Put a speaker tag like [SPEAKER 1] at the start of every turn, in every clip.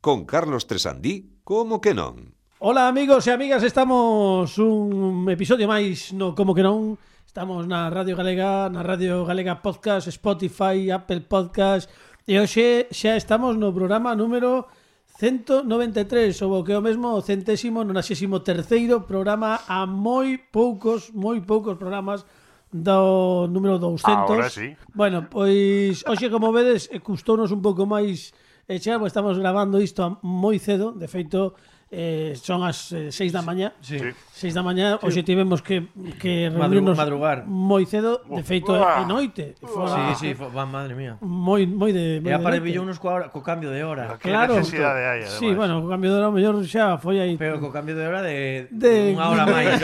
[SPEAKER 1] con Carlos Tresandí, como que non?
[SPEAKER 2] Ola amigos e amigas, estamos un episodio máis no Como que non Estamos na Radio Galega, na Radio Galega Podcast, Spotify, Apple Podcast E hoxe xa estamos no programa número 193 Ou o que é o mesmo, o centésimo, nonaxésimo terceiro programa A moi poucos, moi poucos programas do número 200
[SPEAKER 3] Ahora sí.
[SPEAKER 2] Bueno, pois hoxe como vedes eh, custounos un pouco máis e xa, pois estamos gravando isto a- moi cedo, de feito eh, son as 6 da mañá.
[SPEAKER 4] Sí.
[SPEAKER 2] 6 da mañá, hoxe tivemos que que
[SPEAKER 4] Madru-
[SPEAKER 2] reunirnos
[SPEAKER 4] madrugar.
[SPEAKER 2] moi cedo, de feito
[SPEAKER 3] Uah.
[SPEAKER 2] é noite,
[SPEAKER 4] Sí,
[SPEAKER 2] fora
[SPEAKER 4] sí, fo- va, madre mía.
[SPEAKER 2] moi moi de moi de
[SPEAKER 4] E aparevillou
[SPEAKER 2] noite.
[SPEAKER 4] unos coa hora, co cambio de hora.
[SPEAKER 3] Que necesidade hai, ademais.
[SPEAKER 2] Sí, bueno, o cambio de hora o mellor xa foi aí.
[SPEAKER 4] Pero co cambio de hora de,
[SPEAKER 2] De-
[SPEAKER 4] unha hora máis.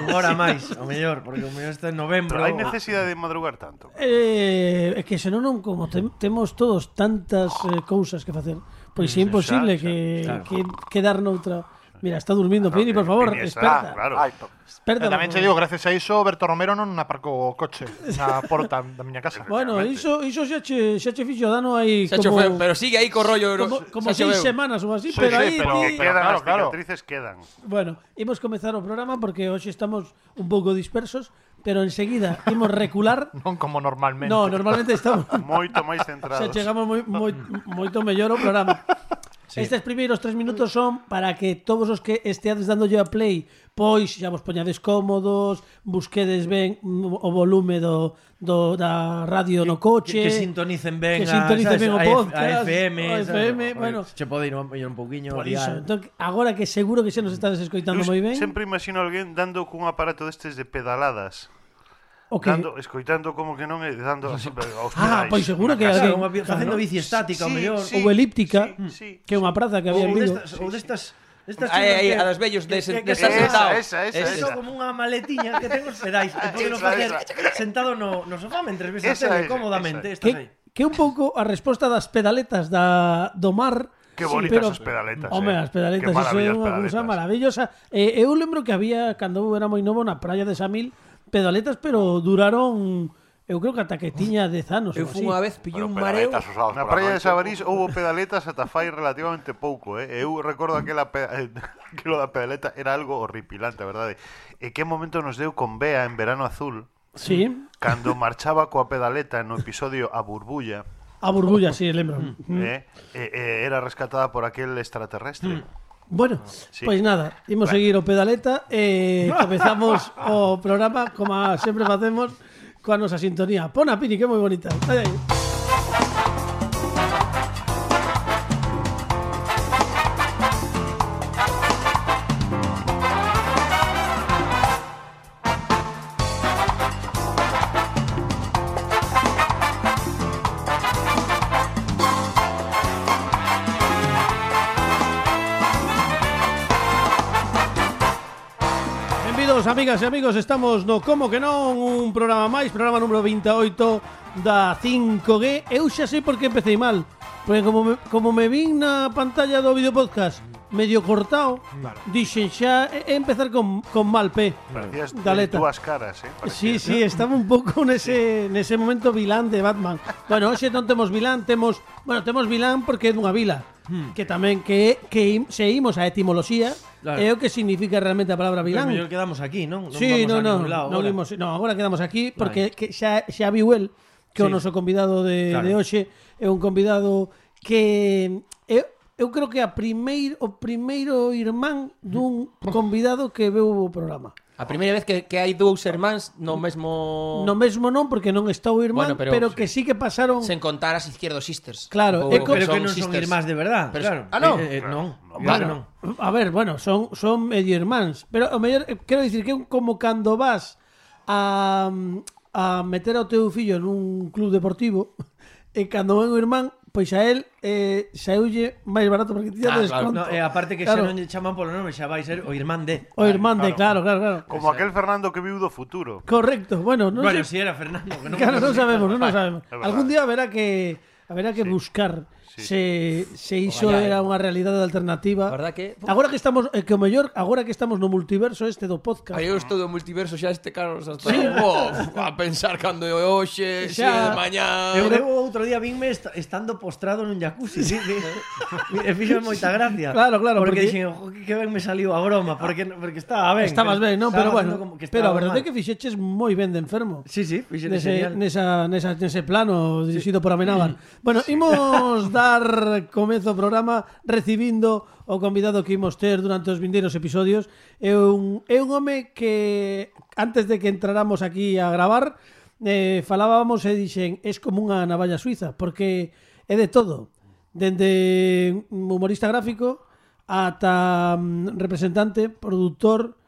[SPEAKER 4] unha hora máis, o mellor, porque o mellor este en novembro.
[SPEAKER 3] Pero hai necesidade de madrugar tanto.
[SPEAKER 2] Eh, é que senón non como tem, temos todos tantas eh, cousas que facer, pois é imposible
[SPEAKER 3] xa,
[SPEAKER 2] que,
[SPEAKER 4] claro.
[SPEAKER 2] que quedar noutra. Mira, está durmindo,
[SPEAKER 3] No,
[SPEAKER 2] Pini,
[SPEAKER 3] que-
[SPEAKER 2] por favor,
[SPEAKER 3] que eh, está,
[SPEAKER 2] desperta.
[SPEAKER 3] ah, Claro.
[SPEAKER 5] Ai, to- E
[SPEAKER 2] Desperta.
[SPEAKER 5] tamén
[SPEAKER 2] por
[SPEAKER 5] che digo,
[SPEAKER 2] favor.
[SPEAKER 5] gracias a iso, Berto Romero non aparcou o coche na porta da miña casa.
[SPEAKER 2] Bueno,
[SPEAKER 3] Realmente.
[SPEAKER 2] iso, iso xa che, xa che fixo dano aí
[SPEAKER 6] Se ha hecho
[SPEAKER 2] como,
[SPEAKER 6] feo, pero sigue ahí con rollo.
[SPEAKER 2] como, como
[SPEAKER 6] se ha hecho
[SPEAKER 2] seis
[SPEAKER 6] feo.
[SPEAKER 2] semanas ou así,
[SPEAKER 5] Sí,
[SPEAKER 2] pero
[SPEAKER 5] sí,
[SPEAKER 2] aí
[SPEAKER 5] pero-
[SPEAKER 3] Que
[SPEAKER 2] ti-
[SPEAKER 3] quedan,
[SPEAKER 5] claro,
[SPEAKER 3] as
[SPEAKER 5] claro.
[SPEAKER 3] cicatrices quedan.
[SPEAKER 2] Bueno, imos comezar o programa porque hoxe estamos un pouco dispersos, pero enseguida imos recular.
[SPEAKER 5] Non como normalmente.
[SPEAKER 2] no, normalmente estamos
[SPEAKER 3] Moito máis
[SPEAKER 2] xa
[SPEAKER 3] centrados.
[SPEAKER 2] chegamos moi, moi, moito mellor ao programa. Sí. Estes primeiros tres minutos son para que todos os que esteades dándolle a play pois xa vos poñades cómodos, busquedes ben mm, o volume do, do da radio no coche.
[SPEAKER 4] Que, que sintonicen ben
[SPEAKER 2] que sintonicen ben o
[SPEAKER 4] a, F-
[SPEAKER 2] podcast,
[SPEAKER 4] a FM,
[SPEAKER 2] o FM, bueno.
[SPEAKER 4] Se pode ir un, ir un poquinho
[SPEAKER 2] Por iso,
[SPEAKER 4] liar.
[SPEAKER 2] entón, agora que seguro que se nos estades escoitando
[SPEAKER 3] Eu
[SPEAKER 2] moi ben,
[SPEAKER 3] Sempre imagino alguén dando cun aparato destes de pedaladas.
[SPEAKER 2] o que
[SPEAKER 3] Dando, escoitando como que non e dando así aos pedais
[SPEAKER 2] Ah, pois
[SPEAKER 3] na
[SPEAKER 2] seguro que
[SPEAKER 3] casa.
[SPEAKER 2] alguén
[SPEAKER 4] Claro, unha, bi-
[SPEAKER 2] Claro.
[SPEAKER 4] facendo bici estática, o mellor.
[SPEAKER 2] ou elíptica,
[SPEAKER 3] sí, sí,
[SPEAKER 2] que é unha praza que había en
[SPEAKER 4] ou
[SPEAKER 2] Vigo.
[SPEAKER 4] destas, ou destas, destas
[SPEAKER 6] Ahí,
[SPEAKER 4] chulas
[SPEAKER 6] ahí,
[SPEAKER 4] que-
[SPEAKER 6] a los bellos de,
[SPEAKER 4] que-
[SPEAKER 6] de,
[SPEAKER 4] que-
[SPEAKER 6] estar
[SPEAKER 4] que-
[SPEAKER 6] sentado.
[SPEAKER 3] esa, esa,
[SPEAKER 6] Ese.
[SPEAKER 4] Eso
[SPEAKER 3] esa.
[SPEAKER 4] como unha maletiña que tengo os pedais E podelo
[SPEAKER 3] Esa,
[SPEAKER 4] facer
[SPEAKER 3] esa.
[SPEAKER 4] sentado no, no sofá Mentre ves a
[SPEAKER 3] Esa é,
[SPEAKER 4] tele cómodamente
[SPEAKER 3] esa é.
[SPEAKER 4] Estás aí
[SPEAKER 2] Que que é un pouco a resposta das pedaletas da do mar.
[SPEAKER 3] Que
[SPEAKER 2] sí,
[SPEAKER 3] bonitas
[SPEAKER 2] pero-
[SPEAKER 3] as pedaletas,
[SPEAKER 2] Home,
[SPEAKER 3] eh.
[SPEAKER 2] as pedaletas,
[SPEAKER 3] Que
[SPEAKER 2] iso é
[SPEAKER 3] maravilla as
[SPEAKER 2] unha cousa
[SPEAKER 3] pedaletas.
[SPEAKER 2] maravillosa. Eh, eu lembro que había, cando eu era moi novo, na praia de Samil, pedaletas, pero duraron, eu creo que ata que tiña 10 anos.
[SPEAKER 6] Eu
[SPEAKER 2] ou
[SPEAKER 6] fui
[SPEAKER 2] así.
[SPEAKER 6] unha vez, pillou un mareo.
[SPEAKER 3] Na praia de Sabarís houbo pedaletas ata fai relativamente pouco, eh? Eu recordo aquela pe... que lo da pedaleta era algo horripilante, a verdade. E que momento nos deu con Bea en Verano Azul,
[SPEAKER 2] Sí,
[SPEAKER 3] cando marchaba coa pedaleta no episodio A Burbulla,
[SPEAKER 2] a burbulla, sí, lembro.
[SPEAKER 3] eh? E, e era rescatada por aquel
[SPEAKER 2] Mm.
[SPEAKER 3] extraterrestre.
[SPEAKER 2] Bueno,
[SPEAKER 3] Ah, Sí.
[SPEAKER 2] pois nada, imos seguir o pedaleta e comezamos o programa como sempre facemos coa nosa sintonía. Pon a Pini, que é moi bonita. Ai, ai. Benvidos, amigas e amigos, estamos no Como que non, un programa máis, programa número 28 da 5G. Eu xa sei por que empecé mal, porque como me, como me vin na pantalla do videopodcast medio cortado, claro. dixen xa é é empezar con, con mal pé.
[SPEAKER 3] Parecías de
[SPEAKER 2] Galeta.
[SPEAKER 3] dúas caras, eh?
[SPEAKER 2] Sí,
[SPEAKER 3] Parecías.
[SPEAKER 2] sí, estaba un pouco nese, nese momento vilán de Batman Bueno, hoxe non temos vilán, temos Bueno, temos vilán porque é dunha vila Que tamén que, que im- seguimos a etimoloxía
[SPEAKER 4] Claro.
[SPEAKER 2] É o que significa realmente a palabra
[SPEAKER 4] Pero
[SPEAKER 2] vilán
[SPEAKER 4] mellor quedamos aquí, non? non
[SPEAKER 2] sí,
[SPEAKER 4] vamos
[SPEAKER 2] no,
[SPEAKER 4] a
[SPEAKER 2] no,
[SPEAKER 4] ningún lado
[SPEAKER 2] no,
[SPEAKER 4] ahora.
[SPEAKER 2] vimos- no, agora quedamos aquí porque que xa, xa viu el que é o
[SPEAKER 4] Sí.
[SPEAKER 2] noso convidado de,
[SPEAKER 4] Claro.
[SPEAKER 2] de hoxe é un convidado que eu, eu creo que é a primeiro o primeiro irmán dun convidado que veu o programa.
[SPEAKER 6] A primeira vez que, que hai dous hermáns no
[SPEAKER 4] Oh.
[SPEAKER 6] mesmo...
[SPEAKER 2] No mesmo non porque non está o irmán,
[SPEAKER 6] Bueno,
[SPEAKER 2] pero,
[SPEAKER 6] pero-
[SPEAKER 2] que sí que pasaron
[SPEAKER 6] sen contar as Izquierdo Sisters. Un
[SPEAKER 2] Claro,
[SPEAKER 6] pouco
[SPEAKER 2] é co-
[SPEAKER 4] Pero que
[SPEAKER 6] son
[SPEAKER 4] non son
[SPEAKER 6] sisters.
[SPEAKER 4] irmás de verdad
[SPEAKER 6] Pero-
[SPEAKER 4] claro.
[SPEAKER 6] Ah, non?
[SPEAKER 4] Eh, eh, non,
[SPEAKER 3] Claro,
[SPEAKER 4] claro, non.
[SPEAKER 2] Bueno, a ver, bueno, son son medio irmáns, pero o mellor eh, quero dicir que é un- como cando vas a a meter ao teu fillo nun club deportivo e cando ven o irmán, pois a pues él eh, saúlle máis barato porque ti
[SPEAKER 6] Ah, claro.
[SPEAKER 2] ah, desconto.
[SPEAKER 4] No,
[SPEAKER 2] Claro,
[SPEAKER 4] e aparte que
[SPEAKER 2] Claro.
[SPEAKER 4] xa non lle chaman polo nome, xa vai ser o irmán de.
[SPEAKER 2] o irmán de, claro, claro, claro.
[SPEAKER 3] Como aquel Fernando que viu do futuro.
[SPEAKER 2] Correcto. Bueno, non
[SPEAKER 4] bueno,
[SPEAKER 2] sei-
[SPEAKER 4] si era Fernando, que non
[SPEAKER 2] Claro, non sabemos, non o sabemos.
[SPEAKER 3] verdade.
[SPEAKER 2] Algún día haberá que haberá que buscar se, se iso
[SPEAKER 6] Ojalá,
[SPEAKER 2] era
[SPEAKER 6] eh.
[SPEAKER 2] unha realidade alternativa.
[SPEAKER 6] A verdad que-
[SPEAKER 2] Agora que estamos, eh, que o mellor, agora que estamos no multiverso este do podcast.
[SPEAKER 7] Aí eu estou do multiverso xa este Carlos hasta Bof, a pensar cando é hoxe, se é
[SPEAKER 2] Xa.
[SPEAKER 7] de mañá.
[SPEAKER 4] Eu creo outro día vinme est estando postrado nun jacuzzi. Sí, sí. E fixo moita gracia.
[SPEAKER 2] Claro, claro,
[SPEAKER 4] Porque,
[SPEAKER 2] porque-
[SPEAKER 4] porque... dixen, "Jo, que ben me saliu a broma, porque, porque estaba ben.
[SPEAKER 2] Estabas ben, non? Pero
[SPEAKER 4] Estaba
[SPEAKER 2] bueno,
[SPEAKER 4] haciendo como que
[SPEAKER 2] pero a
[SPEAKER 4] estaba
[SPEAKER 2] verdade é
[SPEAKER 4] mal.
[SPEAKER 2] que fixeches moi ben de enfermo.
[SPEAKER 4] Sí, sí, fixo
[SPEAKER 2] Nese,
[SPEAKER 4] genial.
[SPEAKER 2] nesa, nesa, nese plano dirixido por Amenábar. Bueno, imos dar comezo ao programa recibindo o convidado que imos ter durante os vindeiros episodios. É un, é un home que antes de que entráramos aquí a gravar eh, falábamos e dixen es como unha navalla suiza porque é de todo. Dende un humorista gráfico ata mm, representante, productor,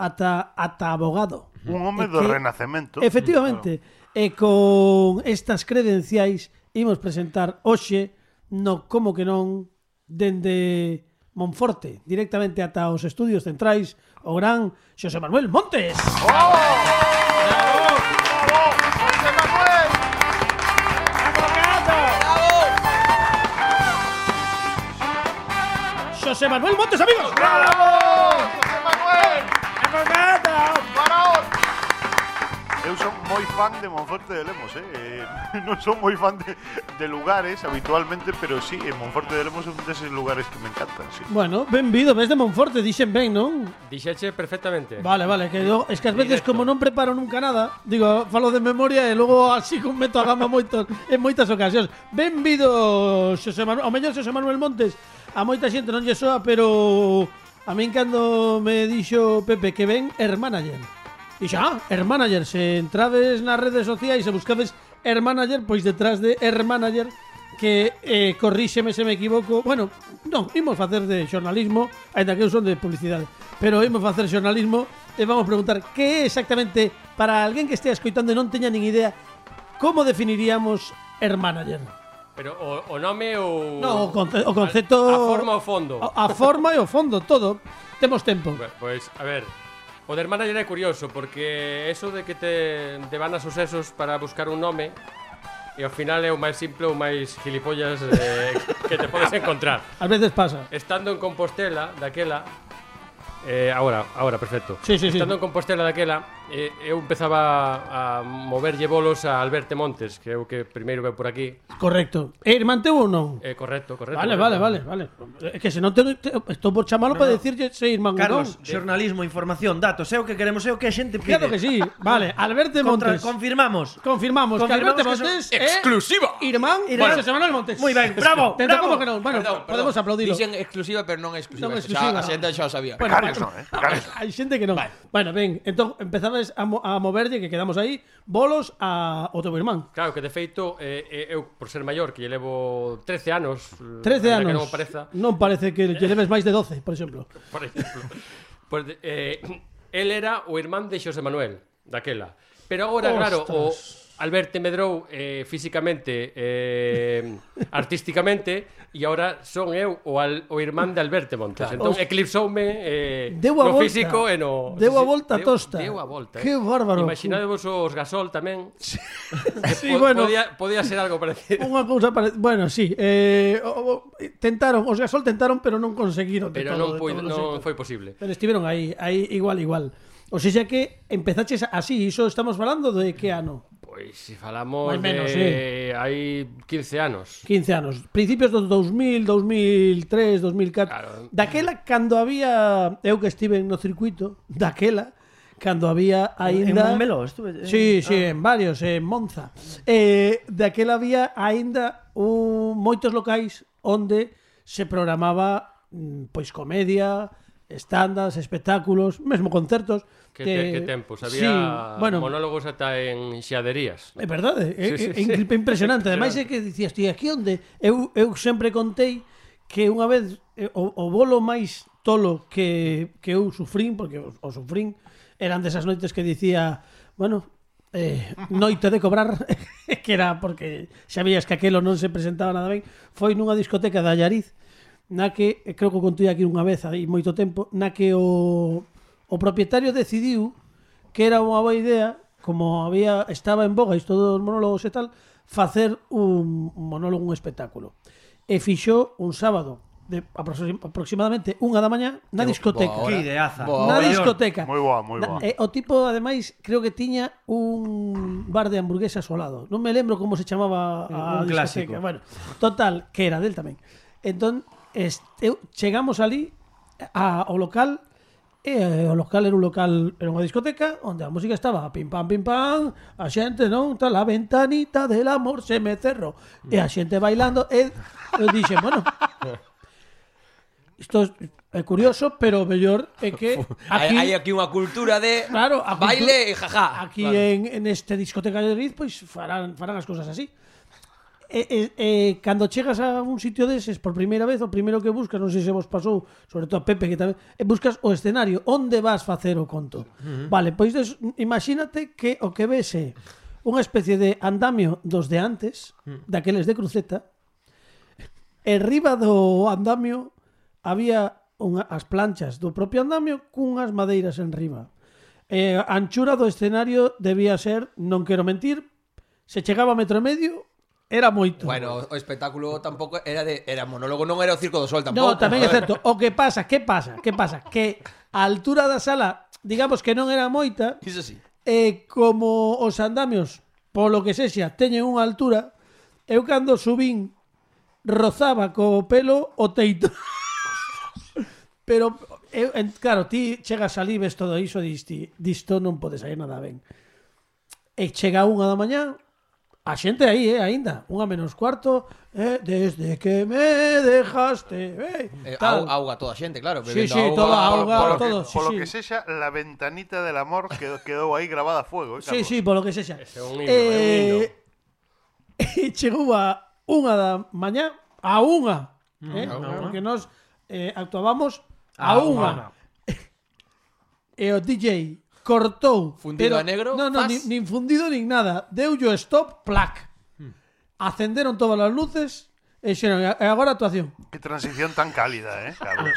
[SPEAKER 2] ata ata abogado.
[SPEAKER 3] Un home
[SPEAKER 2] É
[SPEAKER 3] do
[SPEAKER 2] Mm. que-
[SPEAKER 3] renacemento.
[SPEAKER 2] Efectivamente, e con estas credenciais imos presentar hoxe no como que non dende Monforte, directamente ata os estudios centrais, o gran Xosé Manuel Montes. Xosé Manuel Montes, amigos.
[SPEAKER 3] Eu son moi fan de Monforte de Lemos, eh? eh non son moi fan de, de lugares habitualmente, pero sí, eh, Monforte de Lemos é un deses lugares que me encantan, sí.
[SPEAKER 2] Bueno, benvido, ves de Monforte, dixen ben, non?
[SPEAKER 6] Dixeche perfectamente.
[SPEAKER 2] Vale, vale, que yo, es que ás veces
[SPEAKER 6] Directo.
[SPEAKER 2] como non preparo nunca nada, digo, falo de memoria e logo así con meto a gama moitos, en moitas ocasións. Benvido, Xosé Manuel, o mellor Xosé Manuel Montes. A moita xente non lle soa, pero a min cando me dixo Pepe que ven Hermanager. Dixo, ah, Hermanager, se entrades nas redes sociais e buscades Hermanager, pois detrás de Hermanager que eh, corríxeme se me equivoco. Bueno, non, imos facer de xornalismo, aínda que eu son de publicidade, pero imos facer xornalismo e vamos preguntar que é exactamente para alguén que estea escoitando e non teña nin idea como definiríamos Hermanager.
[SPEAKER 6] Pero o, o nome ou...
[SPEAKER 2] No, o, conce o concepto...
[SPEAKER 6] A, a forma ou fondo.
[SPEAKER 2] A, a forma e o fondo, todo. Temos tempo.
[SPEAKER 6] Bueno, Pois, a ver, o del manager é curioso porque eso de que te, te van a sucesos para buscar un nome e ao final é o máis simple ou máis gilipollas eh, que te podes encontrar.
[SPEAKER 2] Ás veces pasa.
[SPEAKER 6] Estando en Compostela, daquela eh, Ahora, ahora, perfecto
[SPEAKER 2] Sí, sí, sí.
[SPEAKER 6] Estando en Compostela daquela eh, Eu empezaba a moverlle bolos a Alberto Montes Que é o que primeiro veu por aquí
[SPEAKER 2] Correcto. E irmante ou non?
[SPEAKER 6] eh, Correcto, correcto
[SPEAKER 2] Vale,
[SPEAKER 6] correcto.
[SPEAKER 2] vale, vale, vale. É que se non te, te estou por chamalo para decirlle se irmán ou non.
[SPEAKER 4] Carlos, xornalismo, información, datos, é o que queremos, é o que a xente pide.
[SPEAKER 2] Claro que sí. Vale, Alberto
[SPEAKER 4] Contra,
[SPEAKER 2] Montes.
[SPEAKER 4] confirmamos.
[SPEAKER 2] Confirmamos, que Alberto
[SPEAKER 4] Confirmamos que son-
[SPEAKER 2] Montes é
[SPEAKER 7] Eh, Exclusiva.
[SPEAKER 2] Irmán e
[SPEAKER 4] Irmán.
[SPEAKER 2] José Manuel Montes.
[SPEAKER 4] Moi ben, bravo,
[SPEAKER 2] Tentamos
[SPEAKER 4] bravo.
[SPEAKER 2] que non. Bueno, podemos aplaudilo.
[SPEAKER 7] Dicen exclusiva, pero non exclusiva.
[SPEAKER 2] Non
[SPEAKER 7] Non
[SPEAKER 2] exclusiva.
[SPEAKER 7] exclusiva. Xa, a xente xa o sabía.
[SPEAKER 2] Bueno,
[SPEAKER 3] Carlos
[SPEAKER 2] pa-
[SPEAKER 3] no, eh, Carlos no.
[SPEAKER 2] Hai xente que non. Bueno, ben, entón empezades a, mo a moverlle que quedamos aí bolos a o teu irmán.
[SPEAKER 6] Claro, que de feito eh, eh, eu, por ser maior, que lle levo 13 anos
[SPEAKER 2] 13
[SPEAKER 6] aínda
[SPEAKER 2] anos.
[SPEAKER 6] que non o pareza
[SPEAKER 2] Non parece que lle leves máis de 12, por exemplo.
[SPEAKER 6] por exemplo. Pois, de- eh, el era o irmán de Xosé Manuel, daquela. Pero agora, claro, o Alberto medrou eh, físicamente, eh, artísticamente, e agora son eu o, al, o irmán de Alberto Montes. Claro. Entón, eclipsoume eh,
[SPEAKER 2] Deu a
[SPEAKER 6] no
[SPEAKER 2] volta.
[SPEAKER 6] físico e no...
[SPEAKER 2] Deu a volta
[SPEAKER 6] deu-
[SPEAKER 2] tosta.
[SPEAKER 6] Deu a volta. eh.
[SPEAKER 2] Que bárbaro.
[SPEAKER 6] Imaginadevos os gasol tamén. Sí,
[SPEAKER 2] Sí, bueno.
[SPEAKER 6] Podía, podía ser algo parecido.
[SPEAKER 2] Unha cousa pare... Bueno, sí, eh, o, o, tentaron, os gasol tentaron, pero non conseguiron. de
[SPEAKER 6] Pero
[SPEAKER 2] todo,
[SPEAKER 6] non,
[SPEAKER 2] de
[SPEAKER 6] puido,
[SPEAKER 2] todos os
[SPEAKER 6] non
[SPEAKER 2] xeitos.
[SPEAKER 6] foi posible.
[SPEAKER 2] Pero estiveron aí, aí igual, igual. O sea, xa que empezaches así, iso estamos falando de que ano?
[SPEAKER 6] Pois se falamos
[SPEAKER 2] Máis menos,
[SPEAKER 6] de... hai 15 anos.
[SPEAKER 2] 15 anos. Principios dos 2000, 2003, 2004.
[SPEAKER 6] Claro.
[SPEAKER 2] Daquela, cando había... Eu que estive no circuito, daquela, cando había
[SPEAKER 4] En
[SPEAKER 2] aínda...
[SPEAKER 4] Montmeló estuve. eh.
[SPEAKER 2] Sí, sí, en varios, en Monza. Eh, daquela había aínda un, moitos locais onde se programaba mm, pois comedia, estandas, espectáculos, mesmo concertos.
[SPEAKER 6] Que, te, que tempos, había
[SPEAKER 2] Sí, bueno,
[SPEAKER 6] monólogos ata en xaderías.
[SPEAKER 2] É verdade, é,
[SPEAKER 6] Sí, sí,
[SPEAKER 2] é,
[SPEAKER 6] sí.
[SPEAKER 2] é impresionante. Ademais é que dicías, ti, aquí onde eu, eu sempre contei que unha vez eh, o, o bolo máis tolo que, que eu sufrín, porque o, o sufrín, eran desas noites que dicía, bueno, eh, noite de cobrar, que era porque sabías que aquelo non se presentaba nada ben, foi nunha discoteca da Allariz, na que, e creo que o contei aquí unha vez hai moito tempo, na que o, o propietario decidiu que era unha boa idea, como había estaba en boga isto dos monólogos e tal, facer un, un monólogo, un espectáculo. e fixo un sábado de aproxim- aproximadamente unha da mañá na discoteca.
[SPEAKER 7] boa hora.
[SPEAKER 4] Que ideaza.
[SPEAKER 7] Boa
[SPEAKER 2] Na
[SPEAKER 7] hora.
[SPEAKER 2] discoteca.
[SPEAKER 3] Moi boa, moi boa.
[SPEAKER 2] Na- eh, o tipo, ademais, creo que tiña un bar de hamburguesas ao lado. Non me lembro como se chamaba a
[SPEAKER 4] Un
[SPEAKER 2] discoteca.
[SPEAKER 4] clásico.
[SPEAKER 2] Bueno, total, que era del tamén. Entón, este, eu- chegamos ali a, ao local e eh, o local era un local, era unha discoteca onde a música estaba pim pam pim pam, a xente non tal a ventanita del amor se me cerrou e a xente bailando e eu dixen, bueno, isto é curioso, pero o mellor é que
[SPEAKER 7] Hay,
[SPEAKER 2] aquí
[SPEAKER 7] hay aquí una cultura de
[SPEAKER 2] Claro, a cultu-
[SPEAKER 7] baile y jaja.
[SPEAKER 2] Aquí
[SPEAKER 7] Claro.
[SPEAKER 2] en, en este discoteca de Madrid, pois farán, farán as cousas así. Eh, E, e, e, cando chegas a un sitio deses por primeira vez, o primeiro que buscas, non sei se vos pasou, sobre todo a Pepe, que tamén, e buscas o escenario, onde vas facer o conto. Vale, pois des, imagínate que o que ves é unha especie de andamio dos de antes,
[SPEAKER 7] Mm.
[SPEAKER 2] daqueles de cruceta, e riba do andamio había unha, as planchas do propio andamio cunhas madeiras en riba. E a anchura do escenario debía ser, non quero mentir, se chegaba a metro e medio, era moito.
[SPEAKER 7] Bueno, o espectáculo tampoco era de era monólogo, non era o circo do sol
[SPEAKER 2] no,
[SPEAKER 7] tampouco.
[SPEAKER 2] tamén é
[SPEAKER 7] joder.
[SPEAKER 2] certo. O que pasa, que pasa, que pasa, que a altura da sala, digamos que non era moita,
[SPEAKER 7] Iso sí.
[SPEAKER 2] e como os andamios, polo que sexa, teñen unha altura, eu cando subín rozaba co pelo o teito. Pero, eu, en, claro, ti chegas ali, ves todo iso e dis, ti, disto non pode sair nada ben. E chega unha da mañá, a xente aí, eh, aínda, unha menos cuarto, eh, desde que me dejaste, eh,
[SPEAKER 7] Eh,
[SPEAKER 2] tal.
[SPEAKER 7] au- auga toda a xente, claro,
[SPEAKER 2] Sí,
[SPEAKER 7] bebendo
[SPEAKER 2] sí,
[SPEAKER 7] auga.
[SPEAKER 2] toda auga,
[SPEAKER 3] Por lo
[SPEAKER 2] todo,
[SPEAKER 3] que,
[SPEAKER 2] sí,
[SPEAKER 3] por lo
[SPEAKER 2] sí.
[SPEAKER 3] que sexa, la ventanita del amor quedó, quedou aí grabada a fuego, eh,
[SPEAKER 2] Sí,
[SPEAKER 3] Carlos?
[SPEAKER 2] sí, polo que sexa.
[SPEAKER 6] Ese é un himno, é un
[SPEAKER 2] E chegou a unha da mañá, a unha,
[SPEAKER 6] Mm,
[SPEAKER 2] eh? porque nós eh, actuábamos a, Eh,
[SPEAKER 4] A
[SPEAKER 2] unha. e o DJ cortou.
[SPEAKER 7] Fundido a negro,
[SPEAKER 2] No, no,
[SPEAKER 7] fas.
[SPEAKER 2] nin, nin fundido nin nada. Deulle o stop, plac.
[SPEAKER 6] Mm.
[SPEAKER 2] Acenderon todas as luces e xeron, e agora actuación.
[SPEAKER 3] Qué transición tan cálida, eh, Carlos?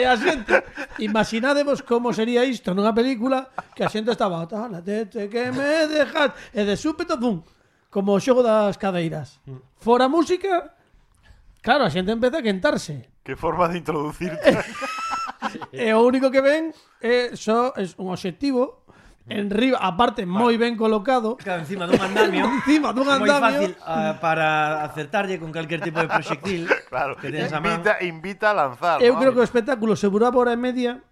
[SPEAKER 2] E a xente, imaginadevos como sería isto nunha película que a xente estaba "Tala, tete, que me dejas e de súpeto, pum, como o xogo das cadeiras. Fora música, claro, a xente empeza a quentarse.
[SPEAKER 3] Qué forma de introducirte.
[SPEAKER 2] E o único que ven é só é un obxectivo en riba, aparte moi ben colocado,
[SPEAKER 4] Claro, encima dun andamio.
[SPEAKER 2] Encima dun andamio.
[SPEAKER 4] Moi fácil ah, para acertarlle con calquer tipo de proxectil.
[SPEAKER 3] Claro.
[SPEAKER 4] Que tens a man.
[SPEAKER 3] Invita, invita a lanzar.
[SPEAKER 2] Eu
[SPEAKER 3] ¿no?
[SPEAKER 2] creo que o espectáculo se duraba hora e media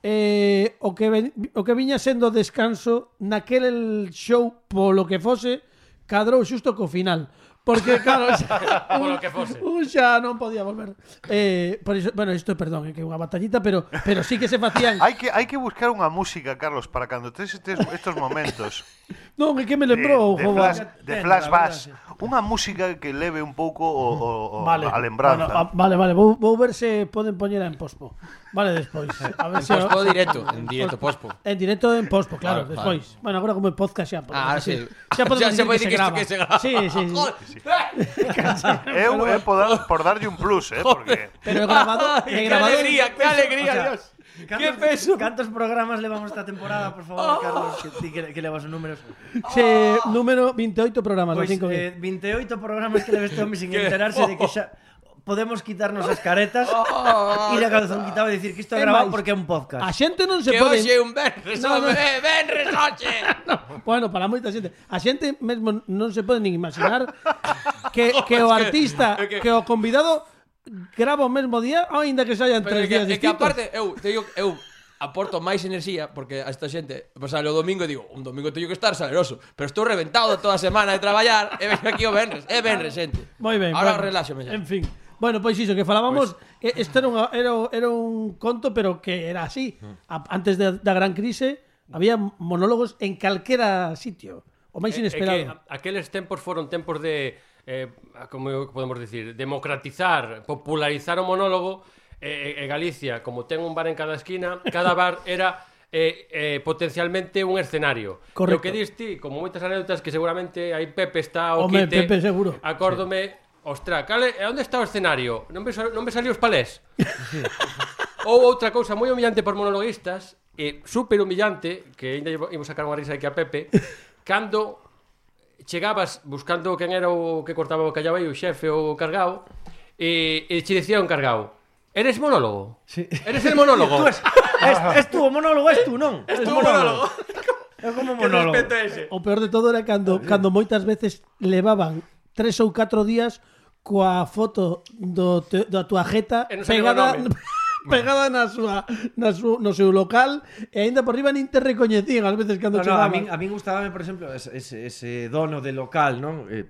[SPEAKER 2] eh, o, que ven, o que viña sendo descanso naquel show polo que fose cadrou xusto co final. Porque, claro, xa,
[SPEAKER 6] Polo que fose.
[SPEAKER 2] un xa non podía volver. Eh, por iso, bueno, isto, perdón, é que é unha batallita, pero, pero sí que se facían...
[SPEAKER 3] Hay que, hay que buscar una música, Carlos, para cuando estés estés- estos momentos
[SPEAKER 2] Non, é que me
[SPEAKER 3] de,
[SPEAKER 2] lembrou o
[SPEAKER 3] de
[SPEAKER 2] jogo.
[SPEAKER 3] flash,
[SPEAKER 2] a-
[SPEAKER 3] de
[SPEAKER 4] Ten,
[SPEAKER 3] flash
[SPEAKER 4] la
[SPEAKER 3] bass.
[SPEAKER 4] verdad,
[SPEAKER 3] Una música que leve un poco o, o- o
[SPEAKER 2] Vale,
[SPEAKER 3] Oh, a lembranza.
[SPEAKER 2] Bueno, a- vale, vale, vou, vou ver se poden poñela en pospo. Vale, despois. A ver
[SPEAKER 7] En
[SPEAKER 2] se o-
[SPEAKER 7] pospo directo, en directo pospo.
[SPEAKER 2] En directo en pospo, claro,
[SPEAKER 7] Claro,
[SPEAKER 2] despois. Bueno, agora como en podcast xa. podemos
[SPEAKER 7] Ah, ahora
[SPEAKER 2] decir-
[SPEAKER 7] sí.
[SPEAKER 2] Xa podemos
[SPEAKER 7] Ya se
[SPEAKER 2] decir
[SPEAKER 7] puede
[SPEAKER 2] que,
[SPEAKER 7] decir que esto que se graba.
[SPEAKER 2] Sí, sí, sí.
[SPEAKER 7] Joder.
[SPEAKER 3] Eu, eh, por, dar- por darlle un plus, eh, porque
[SPEAKER 2] Pero he grabado,
[SPEAKER 7] Ay,
[SPEAKER 2] he
[SPEAKER 7] ¡Qué
[SPEAKER 2] grabado.
[SPEAKER 7] alegría, qué alegría,
[SPEAKER 4] O sea,
[SPEAKER 7] Dios! ¡Qué
[SPEAKER 4] ¿Cantos-
[SPEAKER 7] peso! Oh.
[SPEAKER 4] ¿Cantos programas levamos esta temporada, por favor, Carlos? Que, ti que, que levas os números.
[SPEAKER 2] Se, número 28 programas,
[SPEAKER 4] Pois,
[SPEAKER 2] pues, 5
[SPEAKER 4] eh, 28 programas que leves Tommy sin enterarse de que xa podemos quitarnos as caretas,
[SPEAKER 7] Oh.
[SPEAKER 4] ir a calzón quitado e dicir que isto é
[SPEAKER 2] É
[SPEAKER 4] grabado
[SPEAKER 2] máis.
[SPEAKER 4] porque é un
[SPEAKER 2] A
[SPEAKER 4] podcast.
[SPEAKER 2] xente non se
[SPEAKER 7] Que
[SPEAKER 2] pode...
[SPEAKER 7] hoxe un Benres,
[SPEAKER 2] No, no.
[SPEAKER 7] home, Benres hoxe!
[SPEAKER 2] Bueno, para moita xente. A xente mesmo non se pode nin imaginar que, que o artista,
[SPEAKER 7] é que-
[SPEAKER 2] que o convidado grava o mesmo día, aínda que saian tres
[SPEAKER 7] Pero é que,
[SPEAKER 2] días
[SPEAKER 7] é que
[SPEAKER 2] distintos.
[SPEAKER 7] aparte, eu, te digo, eu aporto máis enerxía porque a esta xente pues, sale o domingo e digo, un domingo teño que estar saleroso, pero estou reventado de toda a semana de traballar e veño aquí o Benres, é Benres, xente.
[SPEAKER 2] Moi ben.
[SPEAKER 7] Ahora
[SPEAKER 2] bueno.
[SPEAKER 7] reláxame xa. Pois-
[SPEAKER 2] En fin. Bueno, pois iso, que falábamos, pues... este era, unha, era, era un conto, pero que era así. A, antes de, da gran crise, había monólogos en calquera sitio. O máis
[SPEAKER 6] É- é que
[SPEAKER 2] inesperado.
[SPEAKER 6] a- aqueles tempos foron tempos de eh, como podemos decir, democratizar, popularizar o monólogo eh, en Galicia, como ten un bar en cada esquina, cada bar era eh, eh, potencialmente un escenario.
[SPEAKER 2] Correcto.
[SPEAKER 6] Lo que diste, como moitas anécdotas que seguramente aí Pepe está o
[SPEAKER 2] Home,
[SPEAKER 6] quite.
[SPEAKER 2] Pepe seguro.
[SPEAKER 6] Acórdome, ostra, cale, e onde está o escenario? Non me, sal- non me salió os palés. Ou outra cousa moi humillante por monologuistas e super humillante, que ainda llevo- imos sacar unha risa aquí a Pepe, cando chegabas buscando quen era o que cortaba o callaba e o xefe ou o cargao, e, e che dicía o encargado, eres monólogo?
[SPEAKER 4] Sí.
[SPEAKER 6] Eres el monólogo?
[SPEAKER 4] Tú es, es, es tú, o monólogo es tú, non? Es
[SPEAKER 7] tú o monólogo.
[SPEAKER 4] É como
[SPEAKER 7] Que
[SPEAKER 4] monólogo.
[SPEAKER 7] respeto é ese?
[SPEAKER 2] O peor de todo era cando cando moitas veces levaban tres ou catro días coa foto do te, da tua jeta
[SPEAKER 6] E non sabía o
[SPEAKER 2] pegada
[SPEAKER 6] nome.
[SPEAKER 2] pegada na súa na sú, no seu local e aínda por riba nin te recoñecían as veces cando
[SPEAKER 4] No, no, a
[SPEAKER 2] chegaban.
[SPEAKER 4] min, a min gustábame, por exemplo, ese, ese, ese dono de local, non? Eh,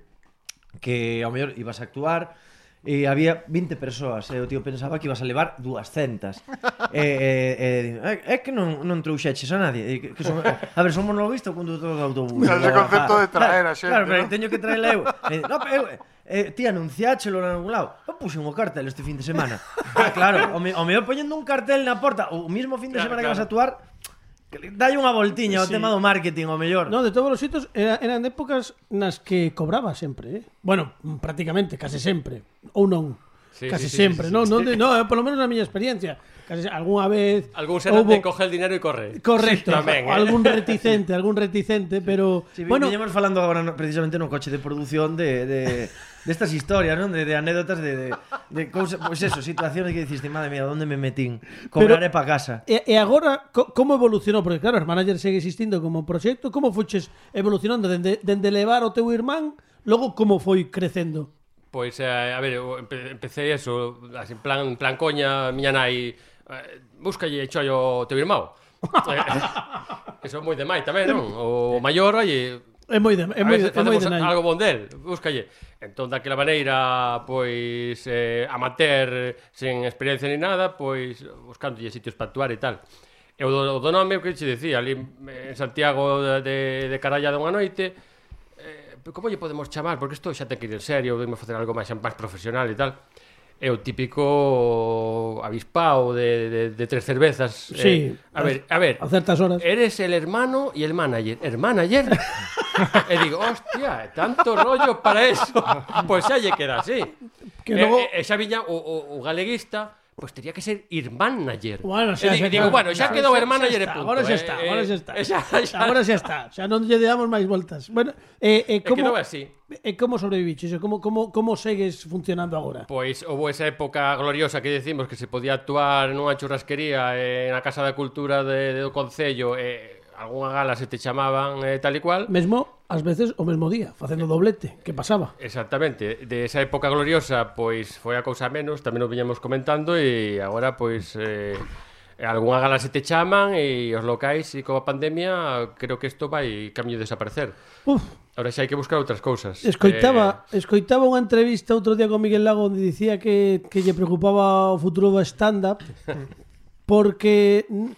[SPEAKER 4] que ao mellor ibas a actuar e había 20 persoas e o tío pensaba que ibas a levar 200 e, e, e, di, "Ah, é que non, non trouxeches a nadie e que, que son, a ver, son monologuista ou conductor de autobús
[SPEAKER 3] Claro, ese concepto de traer a xente,
[SPEAKER 4] claro, pero
[SPEAKER 3] ¿no?
[SPEAKER 4] teño que traela eu e, di, no, pero eu Eh, ti anunciáchelo en algún lado Eu puxen o cartel este fin de semana ah, Claro, o, me, o mellor poñendo un cartel na porta O mismo fin de
[SPEAKER 6] Claro,
[SPEAKER 4] semana
[SPEAKER 6] claro.
[SPEAKER 4] que vas a actuar que le- Dai unha voltiña ao tema do marketing, o mellor
[SPEAKER 2] No, de todos los sitios era- eran épocas nas que cobraba sempre, eh? Bueno, mm, prácticamente, case sempre, ou non.
[SPEAKER 6] Sí,
[SPEAKER 2] case
[SPEAKER 6] sí, sí,
[SPEAKER 2] sempre,
[SPEAKER 6] sí, sí,
[SPEAKER 2] non,
[SPEAKER 6] sí.
[SPEAKER 2] non, de- no, eh, por lo menos na miña experiencia. Case algunha vez
[SPEAKER 6] Algún serán
[SPEAKER 2] houbo-
[SPEAKER 6] de coge el dinero e corre.
[SPEAKER 2] Correcto,
[SPEAKER 6] Tamén, eh.
[SPEAKER 2] algún reticente, algún reticente, pero
[SPEAKER 4] Si,
[SPEAKER 2] bueno,
[SPEAKER 4] bueno, veníamos falando agora no- precisamente no coche de produción de, de, de estas historias, non? De, de anécdotas de, de, de cousa, pois eso, situaciones que diciste, madre mía, onde me metín? Cobraré pa casa.
[SPEAKER 2] E, e agora, co, como evolucionou? Porque claro, os manager segue existindo como proxecto Como fuches evolucionando dende, dende levar o teu irmán Logo, como foi crecendo?
[SPEAKER 6] Pois, eh, a ver, eu empe empecé eso, así, en plan, en plan coña, miña nai, eh, búscalle chollo ao teu irmão. Eh, que son moi de mai tamén, non? O maior, oye,
[SPEAKER 2] É moi de, é
[SPEAKER 6] a
[SPEAKER 2] moi,
[SPEAKER 6] veces
[SPEAKER 2] de- é moi
[SPEAKER 6] facemos
[SPEAKER 2] de nai.
[SPEAKER 6] algo bon del, búscalle. Entón, daquela maneira, pois, eh, amateur, sen experiencia ni nada, pois, buscándolle sitios para actuar e tal. E o do, o do nome, o que che decía, ali eh, en Santiago de, de, de Caralla dunha noite, Pero como lle podemos chamar? Porque isto xa ten que ir en serio, debemos facer algo máis máis profesional e tal. É o típico avispao de, de, de tres cervezas.
[SPEAKER 2] Sí.
[SPEAKER 6] Eh, a ver, a ver. Eh,
[SPEAKER 2] A certas horas.
[SPEAKER 6] Eres el hermano y el manager. ¿El manager? e digo, hostia, tanto rollo para eso. Pois xa lle queda así.
[SPEAKER 2] Que
[SPEAKER 6] Que
[SPEAKER 2] logo-
[SPEAKER 6] logo... e, e xa viña o, o, o galeguista, pois pues, tería que ser irmánager.
[SPEAKER 2] Bueno,
[SPEAKER 6] e digo, digo, bueno, xa quedou hermanager e
[SPEAKER 2] está,
[SPEAKER 6] punto.
[SPEAKER 2] Agora xa
[SPEAKER 6] eh,
[SPEAKER 2] está,
[SPEAKER 6] eh,
[SPEAKER 2] agora xa está.
[SPEAKER 6] e xa, xa,
[SPEAKER 2] Agora xa está, xa non lle damos máis voltas. Bueno, eh, eh,
[SPEAKER 6] E
[SPEAKER 2] como,
[SPEAKER 6] quedou así.
[SPEAKER 2] E como sobreviviches? E Como, como, como segues funcionando agora?
[SPEAKER 6] Pois houve esa época gloriosa que decimos que se podía actuar nunha churrasquería eh, na Casa da Cultura de, do Concello e eh, algunha gala se te chamaban eh, tal e cual.
[SPEAKER 2] Mesmo, ás veces, o mesmo día, facendo doblete. Que pasaba?
[SPEAKER 6] Exactamente, de esa época gloriosa pois foi a cousa menos, tamén o viñamos comentando e agora pois eh, algunha gala se te chaman e os locais e coa pandemia creo que isto vai camiño de desaparecer.
[SPEAKER 2] Uf,
[SPEAKER 6] Ahora xa hai que buscar outras cousas.
[SPEAKER 2] Escoitaba, eh... escoitaba unha entrevista outro día con Miguel Lago onde dicía que, que lle preocupaba o futuro do stand-up porque n-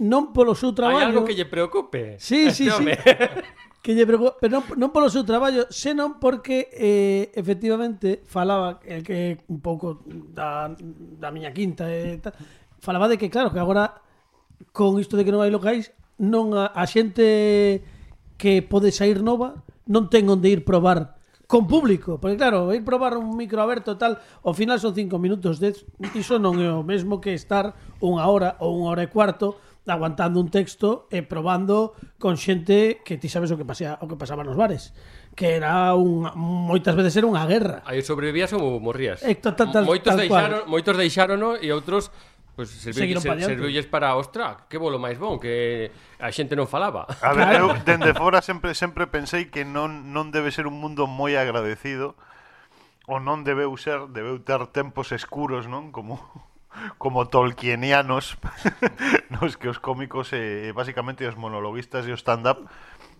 [SPEAKER 2] non polo
[SPEAKER 6] Eh,
[SPEAKER 2] seu
[SPEAKER 6] hai
[SPEAKER 2] traballo...
[SPEAKER 6] algo que lle preocupe.
[SPEAKER 2] Sí,
[SPEAKER 6] Este
[SPEAKER 2] sí, sí.
[SPEAKER 6] home.
[SPEAKER 2] que lle preocupa, pero non, non polo seu traballo, senón porque eh, efectivamente falaba el que un pouco da, da miña quinta e tal, falaba de que claro, que agora con isto de que non hai locais, non a, a xente que pode sair nova non ten onde ir probar con público, porque claro, ir probar un micro aberto e tal, ao final son cinco minutos de iso non é o mesmo que estar unha hora ou unha hora e cuarto aguantando un texto e probando con xente que ti sabes o que pasea, o que pasaba nos bares, que era un moitas veces era unha guerra.
[SPEAKER 6] Aí sobrevivías ou morrías.
[SPEAKER 2] Eh, ta- ta- tal-
[SPEAKER 6] moitos
[SPEAKER 2] tal
[SPEAKER 6] deixaron, moitos deixarono e outros pues, serviu,
[SPEAKER 2] Seguiron pa diante.
[SPEAKER 6] serviulles para, ostra, que bolo máis bon, que a xente non falaba.
[SPEAKER 3] A ver, eu dende fora sempre sempre pensei que non non debe ser un mundo moi agradecido ou non debeu ser, debeu ter tempos escuros, non? Como como tolkienianos nos que os cómicos e eh, basicamente os monologuistas e o stand-up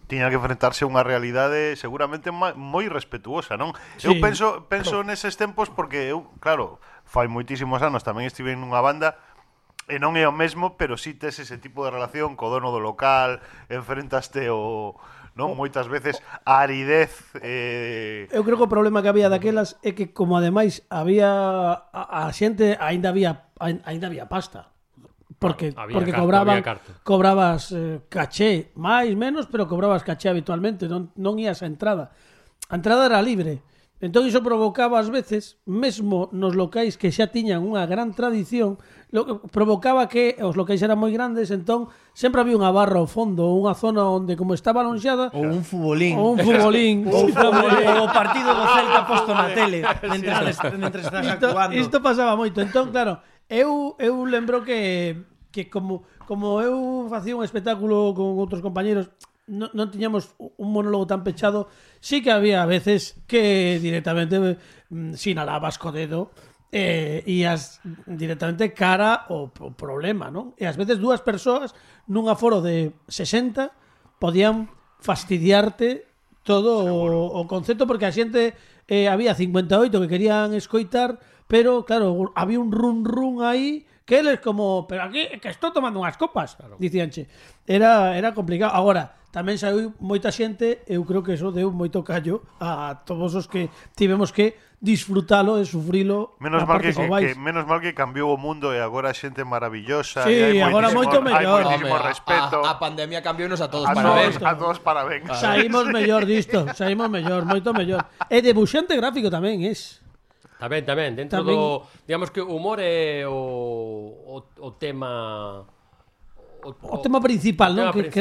[SPEAKER 3] tiñan que enfrentarse a unha realidade seguramente ma- moi respetuosa, non?
[SPEAKER 2] Sí.
[SPEAKER 3] Eu penso penso neses tempos porque eu, claro, fai moitísimos anos tamén estive nunha banda E non é o mesmo, pero si tes ese tipo de relación co dono do local, enfrentaste o non moitas veces a aridez eh,
[SPEAKER 2] Eu creo que o problema que había daquelas é que como ademais había a, a xente aínda había ain- aínda había pasta. Porque
[SPEAKER 6] Había
[SPEAKER 2] porque
[SPEAKER 6] carta,
[SPEAKER 2] cobraban
[SPEAKER 6] había carta.
[SPEAKER 2] cobrabas eh, caché, máis menos, pero cobrabas caché habitualmente, non non ías a entrada. A entrada era libre. Entón iso provocaba ás veces, mesmo nos locais que xa tiñan unha gran tradición, lo que provocaba que os locais eran moi grandes, entón sempre había unha barra ao fondo, ou unha zona onde como estaba lonxada,
[SPEAKER 4] Ou un futbolín.
[SPEAKER 2] ou un futbolín,
[SPEAKER 4] Ou un futbolín,
[SPEAKER 2] tamén.
[SPEAKER 4] ou o partido do Celta posto na tele mentres, mentres estás
[SPEAKER 2] isto,
[SPEAKER 4] actuando.
[SPEAKER 2] isto pasaba moito. Entón, claro, eu eu lembro que que como como eu facía un espectáculo con outros compañeiros, non, non tiñamos un monólogo tan pechado, sí que había veces que directamente mm, sinalabas co dedo eh, ías directamente cara ao, ao problema, non? E ás veces dúas persoas nun aforo de 60 podían fastidiarte todo o, o concepto porque a xente eh, había 58 que querían escoitar, pero claro, había un run run aí que eles como, pero aquí é que estou tomando unhas copas, claro. dicíanche. Era era complicado. Agora, tamén saiu moita xente, eu creo que eso deu moito callo a todos os que tivemos que disfrutalo e sufrilo
[SPEAKER 3] Menos
[SPEAKER 2] na
[SPEAKER 3] mal
[SPEAKER 2] parte
[SPEAKER 3] que, que,
[SPEAKER 2] que vais.
[SPEAKER 3] que- menos mal que cambiou o mundo e agora hai xente maravillosa.
[SPEAKER 2] Sí,
[SPEAKER 3] e hai
[SPEAKER 2] agora
[SPEAKER 3] moitísimo-
[SPEAKER 2] moito mellor.
[SPEAKER 3] Hai moitísimo
[SPEAKER 7] Home, a-
[SPEAKER 3] respeto.
[SPEAKER 7] A, a pandemia cambiounos a todos
[SPEAKER 3] A,
[SPEAKER 7] para
[SPEAKER 3] todos,
[SPEAKER 7] ver.
[SPEAKER 3] a todos parabéns.
[SPEAKER 2] Saímos mellor disto, saímos mellor, moito mellor. E debuxante gráfico tamén es.
[SPEAKER 6] Tamén, tamén, dentro
[SPEAKER 2] Tamén-
[SPEAKER 6] tamén... do, digamos que o humor é o o, o tema o,
[SPEAKER 2] O tema principal, non? Que- que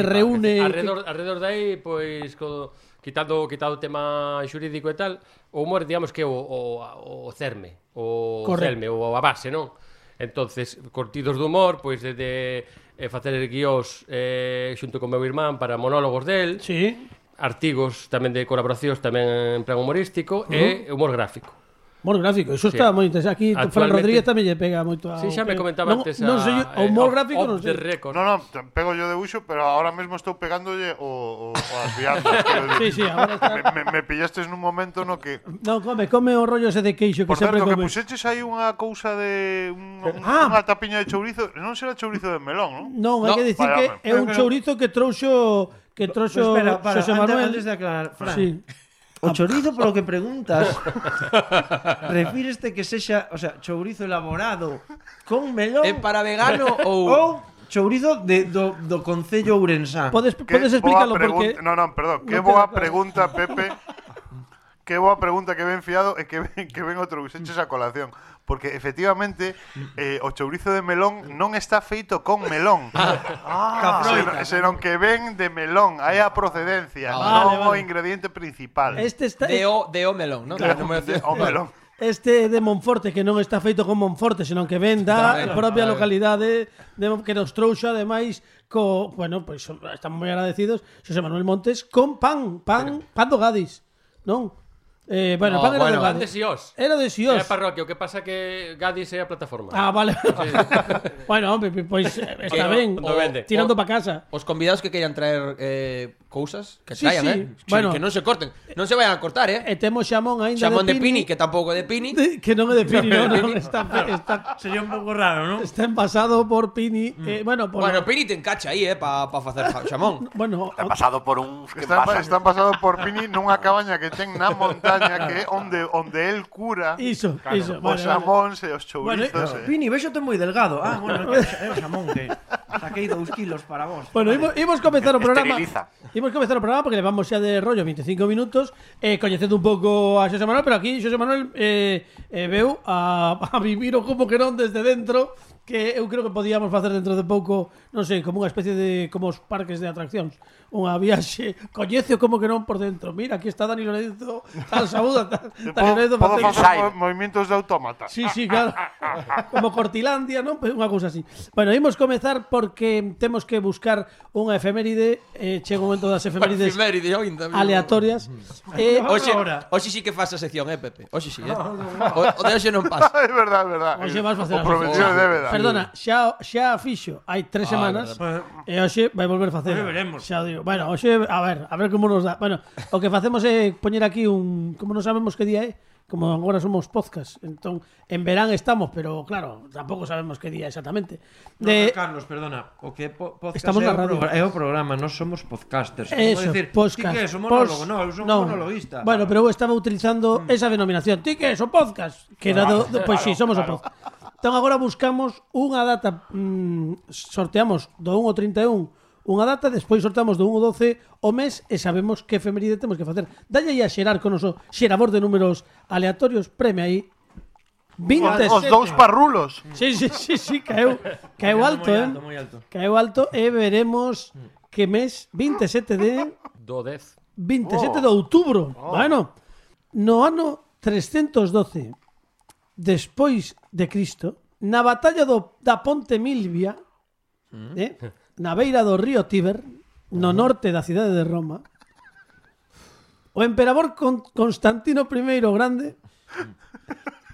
[SPEAKER 6] que,
[SPEAKER 2] reúne-
[SPEAKER 6] alrededor, que... alrededor de aí, pois co, quitando quitado o tema xurídico e tal, o humor digamos que é o o, o cerme, o
[SPEAKER 2] Correcto.
[SPEAKER 6] celme, ou a base, non? Entonces, cortidos de humor, pois desde eh, facer guións eh, xunto con meu irmán para monólogos del,
[SPEAKER 2] Sí.
[SPEAKER 6] artigos tamén de colaboracións tamén en plan humorístico uh -huh. e humor gráfico.
[SPEAKER 2] Mor gráfico, eso está moi interesante. Aquí Fran
[SPEAKER 6] Actualmente-
[SPEAKER 2] Rodríguez tamén lle pega moito a
[SPEAKER 6] Sí, xa me comentaba
[SPEAKER 2] non,
[SPEAKER 6] antes
[SPEAKER 2] Non
[SPEAKER 6] a,
[SPEAKER 2] sei, o
[SPEAKER 6] eh,
[SPEAKER 2] humor
[SPEAKER 6] off-
[SPEAKER 2] gráfico
[SPEAKER 6] off
[SPEAKER 2] non
[SPEAKER 6] the
[SPEAKER 2] sei.
[SPEAKER 6] record.
[SPEAKER 3] No, no, te- pego yo de uso, pero ahora mismo estou pegándolle o, o, o as viandas. quiero
[SPEAKER 2] Sí,
[SPEAKER 3] decir.
[SPEAKER 2] sí, agora está.
[SPEAKER 3] me, me, me pillaste en un momento no que
[SPEAKER 2] Non, come, come o rollo ese de queixo que
[SPEAKER 3] Por ¿eh?
[SPEAKER 2] sempre
[SPEAKER 3] certo, que
[SPEAKER 2] come.
[SPEAKER 3] puxeches aí unha cousa de un, un,
[SPEAKER 2] Ah.
[SPEAKER 3] unha tapiña de chourizo, non será chourizo de melón, non?
[SPEAKER 2] Non, hai
[SPEAKER 7] No,
[SPEAKER 2] que dicir que
[SPEAKER 3] válgame.
[SPEAKER 2] é un chourizo que trouxo que trouxo
[SPEAKER 4] Pero Pois espera, para,
[SPEAKER 2] Xosé
[SPEAKER 4] antes,
[SPEAKER 2] Manuel.
[SPEAKER 4] antes de aclarar, Fran.
[SPEAKER 2] Sí.
[SPEAKER 4] O chorizo polo que preguntas refíreste que sexa, o sea, chourizo elaborado con melón
[SPEAKER 7] É para vegano ou...
[SPEAKER 4] ou chourizo de, do, do Concello Ourensán.
[SPEAKER 2] Podes
[SPEAKER 3] Que
[SPEAKER 2] podes
[SPEAKER 3] boa
[SPEAKER 2] explicarlo porque
[SPEAKER 3] pregunta- No, no, perdón, que
[SPEAKER 2] No
[SPEAKER 3] boa
[SPEAKER 2] queda-
[SPEAKER 3] pregunta, Pepe. Que boa pregunta que ben fiado e que ben, que ben outro buseches a colación. Porque efectivamente eh, o chourizo de melón non está feito con melón. Ah, senón, senón que ven de melón, hai a procedencia,
[SPEAKER 2] Ah,
[SPEAKER 3] non
[SPEAKER 2] vale,
[SPEAKER 3] o
[SPEAKER 2] vale.
[SPEAKER 3] ingrediente principal.
[SPEAKER 2] este está
[SPEAKER 7] De o, de o melón, ¿no?
[SPEAKER 3] Claro,
[SPEAKER 7] No me
[SPEAKER 3] de-
[SPEAKER 7] decía-
[SPEAKER 3] o melón.
[SPEAKER 2] Este de Monforte que non está feito con Monforte, senón que ven da
[SPEAKER 7] Tamén,
[SPEAKER 2] propia
[SPEAKER 7] tamén.
[SPEAKER 2] localidade de, Mon- que nos trouxo ademais co, bueno, pois son- estamos moi agradecidos José Manuel Montes con pan, pan, pan do Gadis, non? Eh, bueno,
[SPEAKER 7] No,
[SPEAKER 2] pan era
[SPEAKER 7] bueno,
[SPEAKER 2] do
[SPEAKER 6] Pan de
[SPEAKER 2] Gadis.
[SPEAKER 6] Sios.
[SPEAKER 2] Era de Sios.
[SPEAKER 6] Era parroquia, o que pasa que Gadis é a plataforma.
[SPEAKER 2] Ah, vale. bueno, hombre, pois eh, está
[SPEAKER 7] Pero,
[SPEAKER 2] ben.
[SPEAKER 6] o vende.
[SPEAKER 2] Tirando
[SPEAKER 7] O-
[SPEAKER 2] para casa.
[SPEAKER 7] Os convidados que queiran traer eh, cousas, que
[SPEAKER 2] Sí,
[SPEAKER 7] traian,
[SPEAKER 2] sí.
[SPEAKER 7] eh?
[SPEAKER 2] Bueno.
[SPEAKER 7] Que non se corten. Non se vayan a cortar, eh?
[SPEAKER 2] E temos xamón aínda
[SPEAKER 7] Chamón de Pini, que tampouco é de Pini.
[SPEAKER 2] de- que non é de Pini, non, non, está, está,
[SPEAKER 4] Sería un pouco raro, non?
[SPEAKER 2] está envasado por Pini. Eh, bueno, por
[SPEAKER 7] Bueno, Pini te encacha aí, eh, pa, pa facer fa- chamón.
[SPEAKER 2] bueno,
[SPEAKER 8] Está pasado por uns que
[SPEAKER 3] Están, pa-
[SPEAKER 8] pasan.
[SPEAKER 3] están pasados por Pini nunha cabaña que ten na montaña que é onde onde el cura
[SPEAKER 2] Iso, iso, vale,
[SPEAKER 3] os
[SPEAKER 2] vale.
[SPEAKER 3] xamóns e os
[SPEAKER 2] Bueno,
[SPEAKER 3] chourizos. eh.
[SPEAKER 4] Pini, vexote moi delgado. Ah, bueno, é que- é o xamón que saquei dous kilos para vos.
[SPEAKER 2] Bueno, imos, imos comezar o programa.
[SPEAKER 8] Esteriliza.
[SPEAKER 2] Imos comezar o programa porque levamos xa de rollo 25 minutos eh, coñecendo un pouco a Xosé Manuel, pero aquí Xosé Manuel eh, eh, veu a, a vivir o como que non desde dentro que eu creo que podíamos facer dentro de pouco, non sei, como unha especie de como os parques de atraccións, unha viaxe, coñece o como que non por dentro. Mira, aquí está Dani Lorenzo, tal saúda, tal, Dani Lorenzo
[SPEAKER 3] Eh, Podo, podo
[SPEAKER 2] facendo-
[SPEAKER 3] facer mo- movimientos de autómata.
[SPEAKER 2] Sí, sí, claro. Como Cortilandia, non? Pois Unha cousa así. Bueno, imos comezar porque temos que buscar unha efeméride, eh, chega o momento das efemérides
[SPEAKER 7] Efeméride, oi, ainda bien.
[SPEAKER 2] aleatorias. Eh,
[SPEAKER 7] Oxe,
[SPEAKER 4] Ahora.
[SPEAKER 7] oxe sí que faz a sección, eh, Pepe. Oxe sí, eh. O, o de hoxe non pasa.
[SPEAKER 3] é verdad, é verdad.
[SPEAKER 2] Hoxe vas facer
[SPEAKER 3] o
[SPEAKER 2] a
[SPEAKER 3] prometido
[SPEAKER 2] sección.
[SPEAKER 3] de verdad.
[SPEAKER 2] Perdona, xa, xa a fixo hai tres semanas e hoxe vai volver a facer.
[SPEAKER 4] Hoxe veremos.
[SPEAKER 2] Xa o digo. Bueno, hoxe, a ver, a ver como nos dá. Bueno, o que facemos é poñer aquí un... Como non sabemos que día é, como agora somos podcast, entón en verán estamos, pero claro, tampouco sabemos que día exactamente.
[SPEAKER 4] De...
[SPEAKER 2] De,
[SPEAKER 4] Carlos, perdona. O que é po
[SPEAKER 2] eh,
[SPEAKER 4] podcast
[SPEAKER 2] Estamos
[SPEAKER 4] é,
[SPEAKER 2] na radio.
[SPEAKER 4] O pro- é o programa, nós somos podcasters.
[SPEAKER 2] Eso,
[SPEAKER 4] Vou dicir,
[SPEAKER 2] podcast.
[SPEAKER 4] Ti que és un
[SPEAKER 2] pos-
[SPEAKER 4] monólogo, non, eu son
[SPEAKER 2] non.
[SPEAKER 4] un monologuista. Mm.
[SPEAKER 2] Bueno, pero eu estaba utilizando esa denominación. Ti que és o podcast? Que era do, do pois si, somos o podcast. Entón agora buscamos unha data, mm, sorteamos do 1 ao 31 unha data, despois sortamos do 1 ao 12 o mes e sabemos que efeméride temos que facer. Dalle aí a xerar con oso xerador de números aleatorios, premia aí.
[SPEAKER 5] Os
[SPEAKER 2] 27.
[SPEAKER 5] dous parrulos.
[SPEAKER 2] Sí, sí, sí, sí, caeu, caeu alto,
[SPEAKER 4] moi
[SPEAKER 2] eh?
[SPEAKER 4] alto, moi alto.
[SPEAKER 2] Caeu alto e veremos que mes 27 de
[SPEAKER 6] Do 10.
[SPEAKER 2] 27 de outubro. Bueno, no ano 312 despois de Cristo, na batalla do, da Ponte Milvia, eh, na beira do río Tíber, no norte da cidade de Roma, o emperador Con- Constantino I o Grande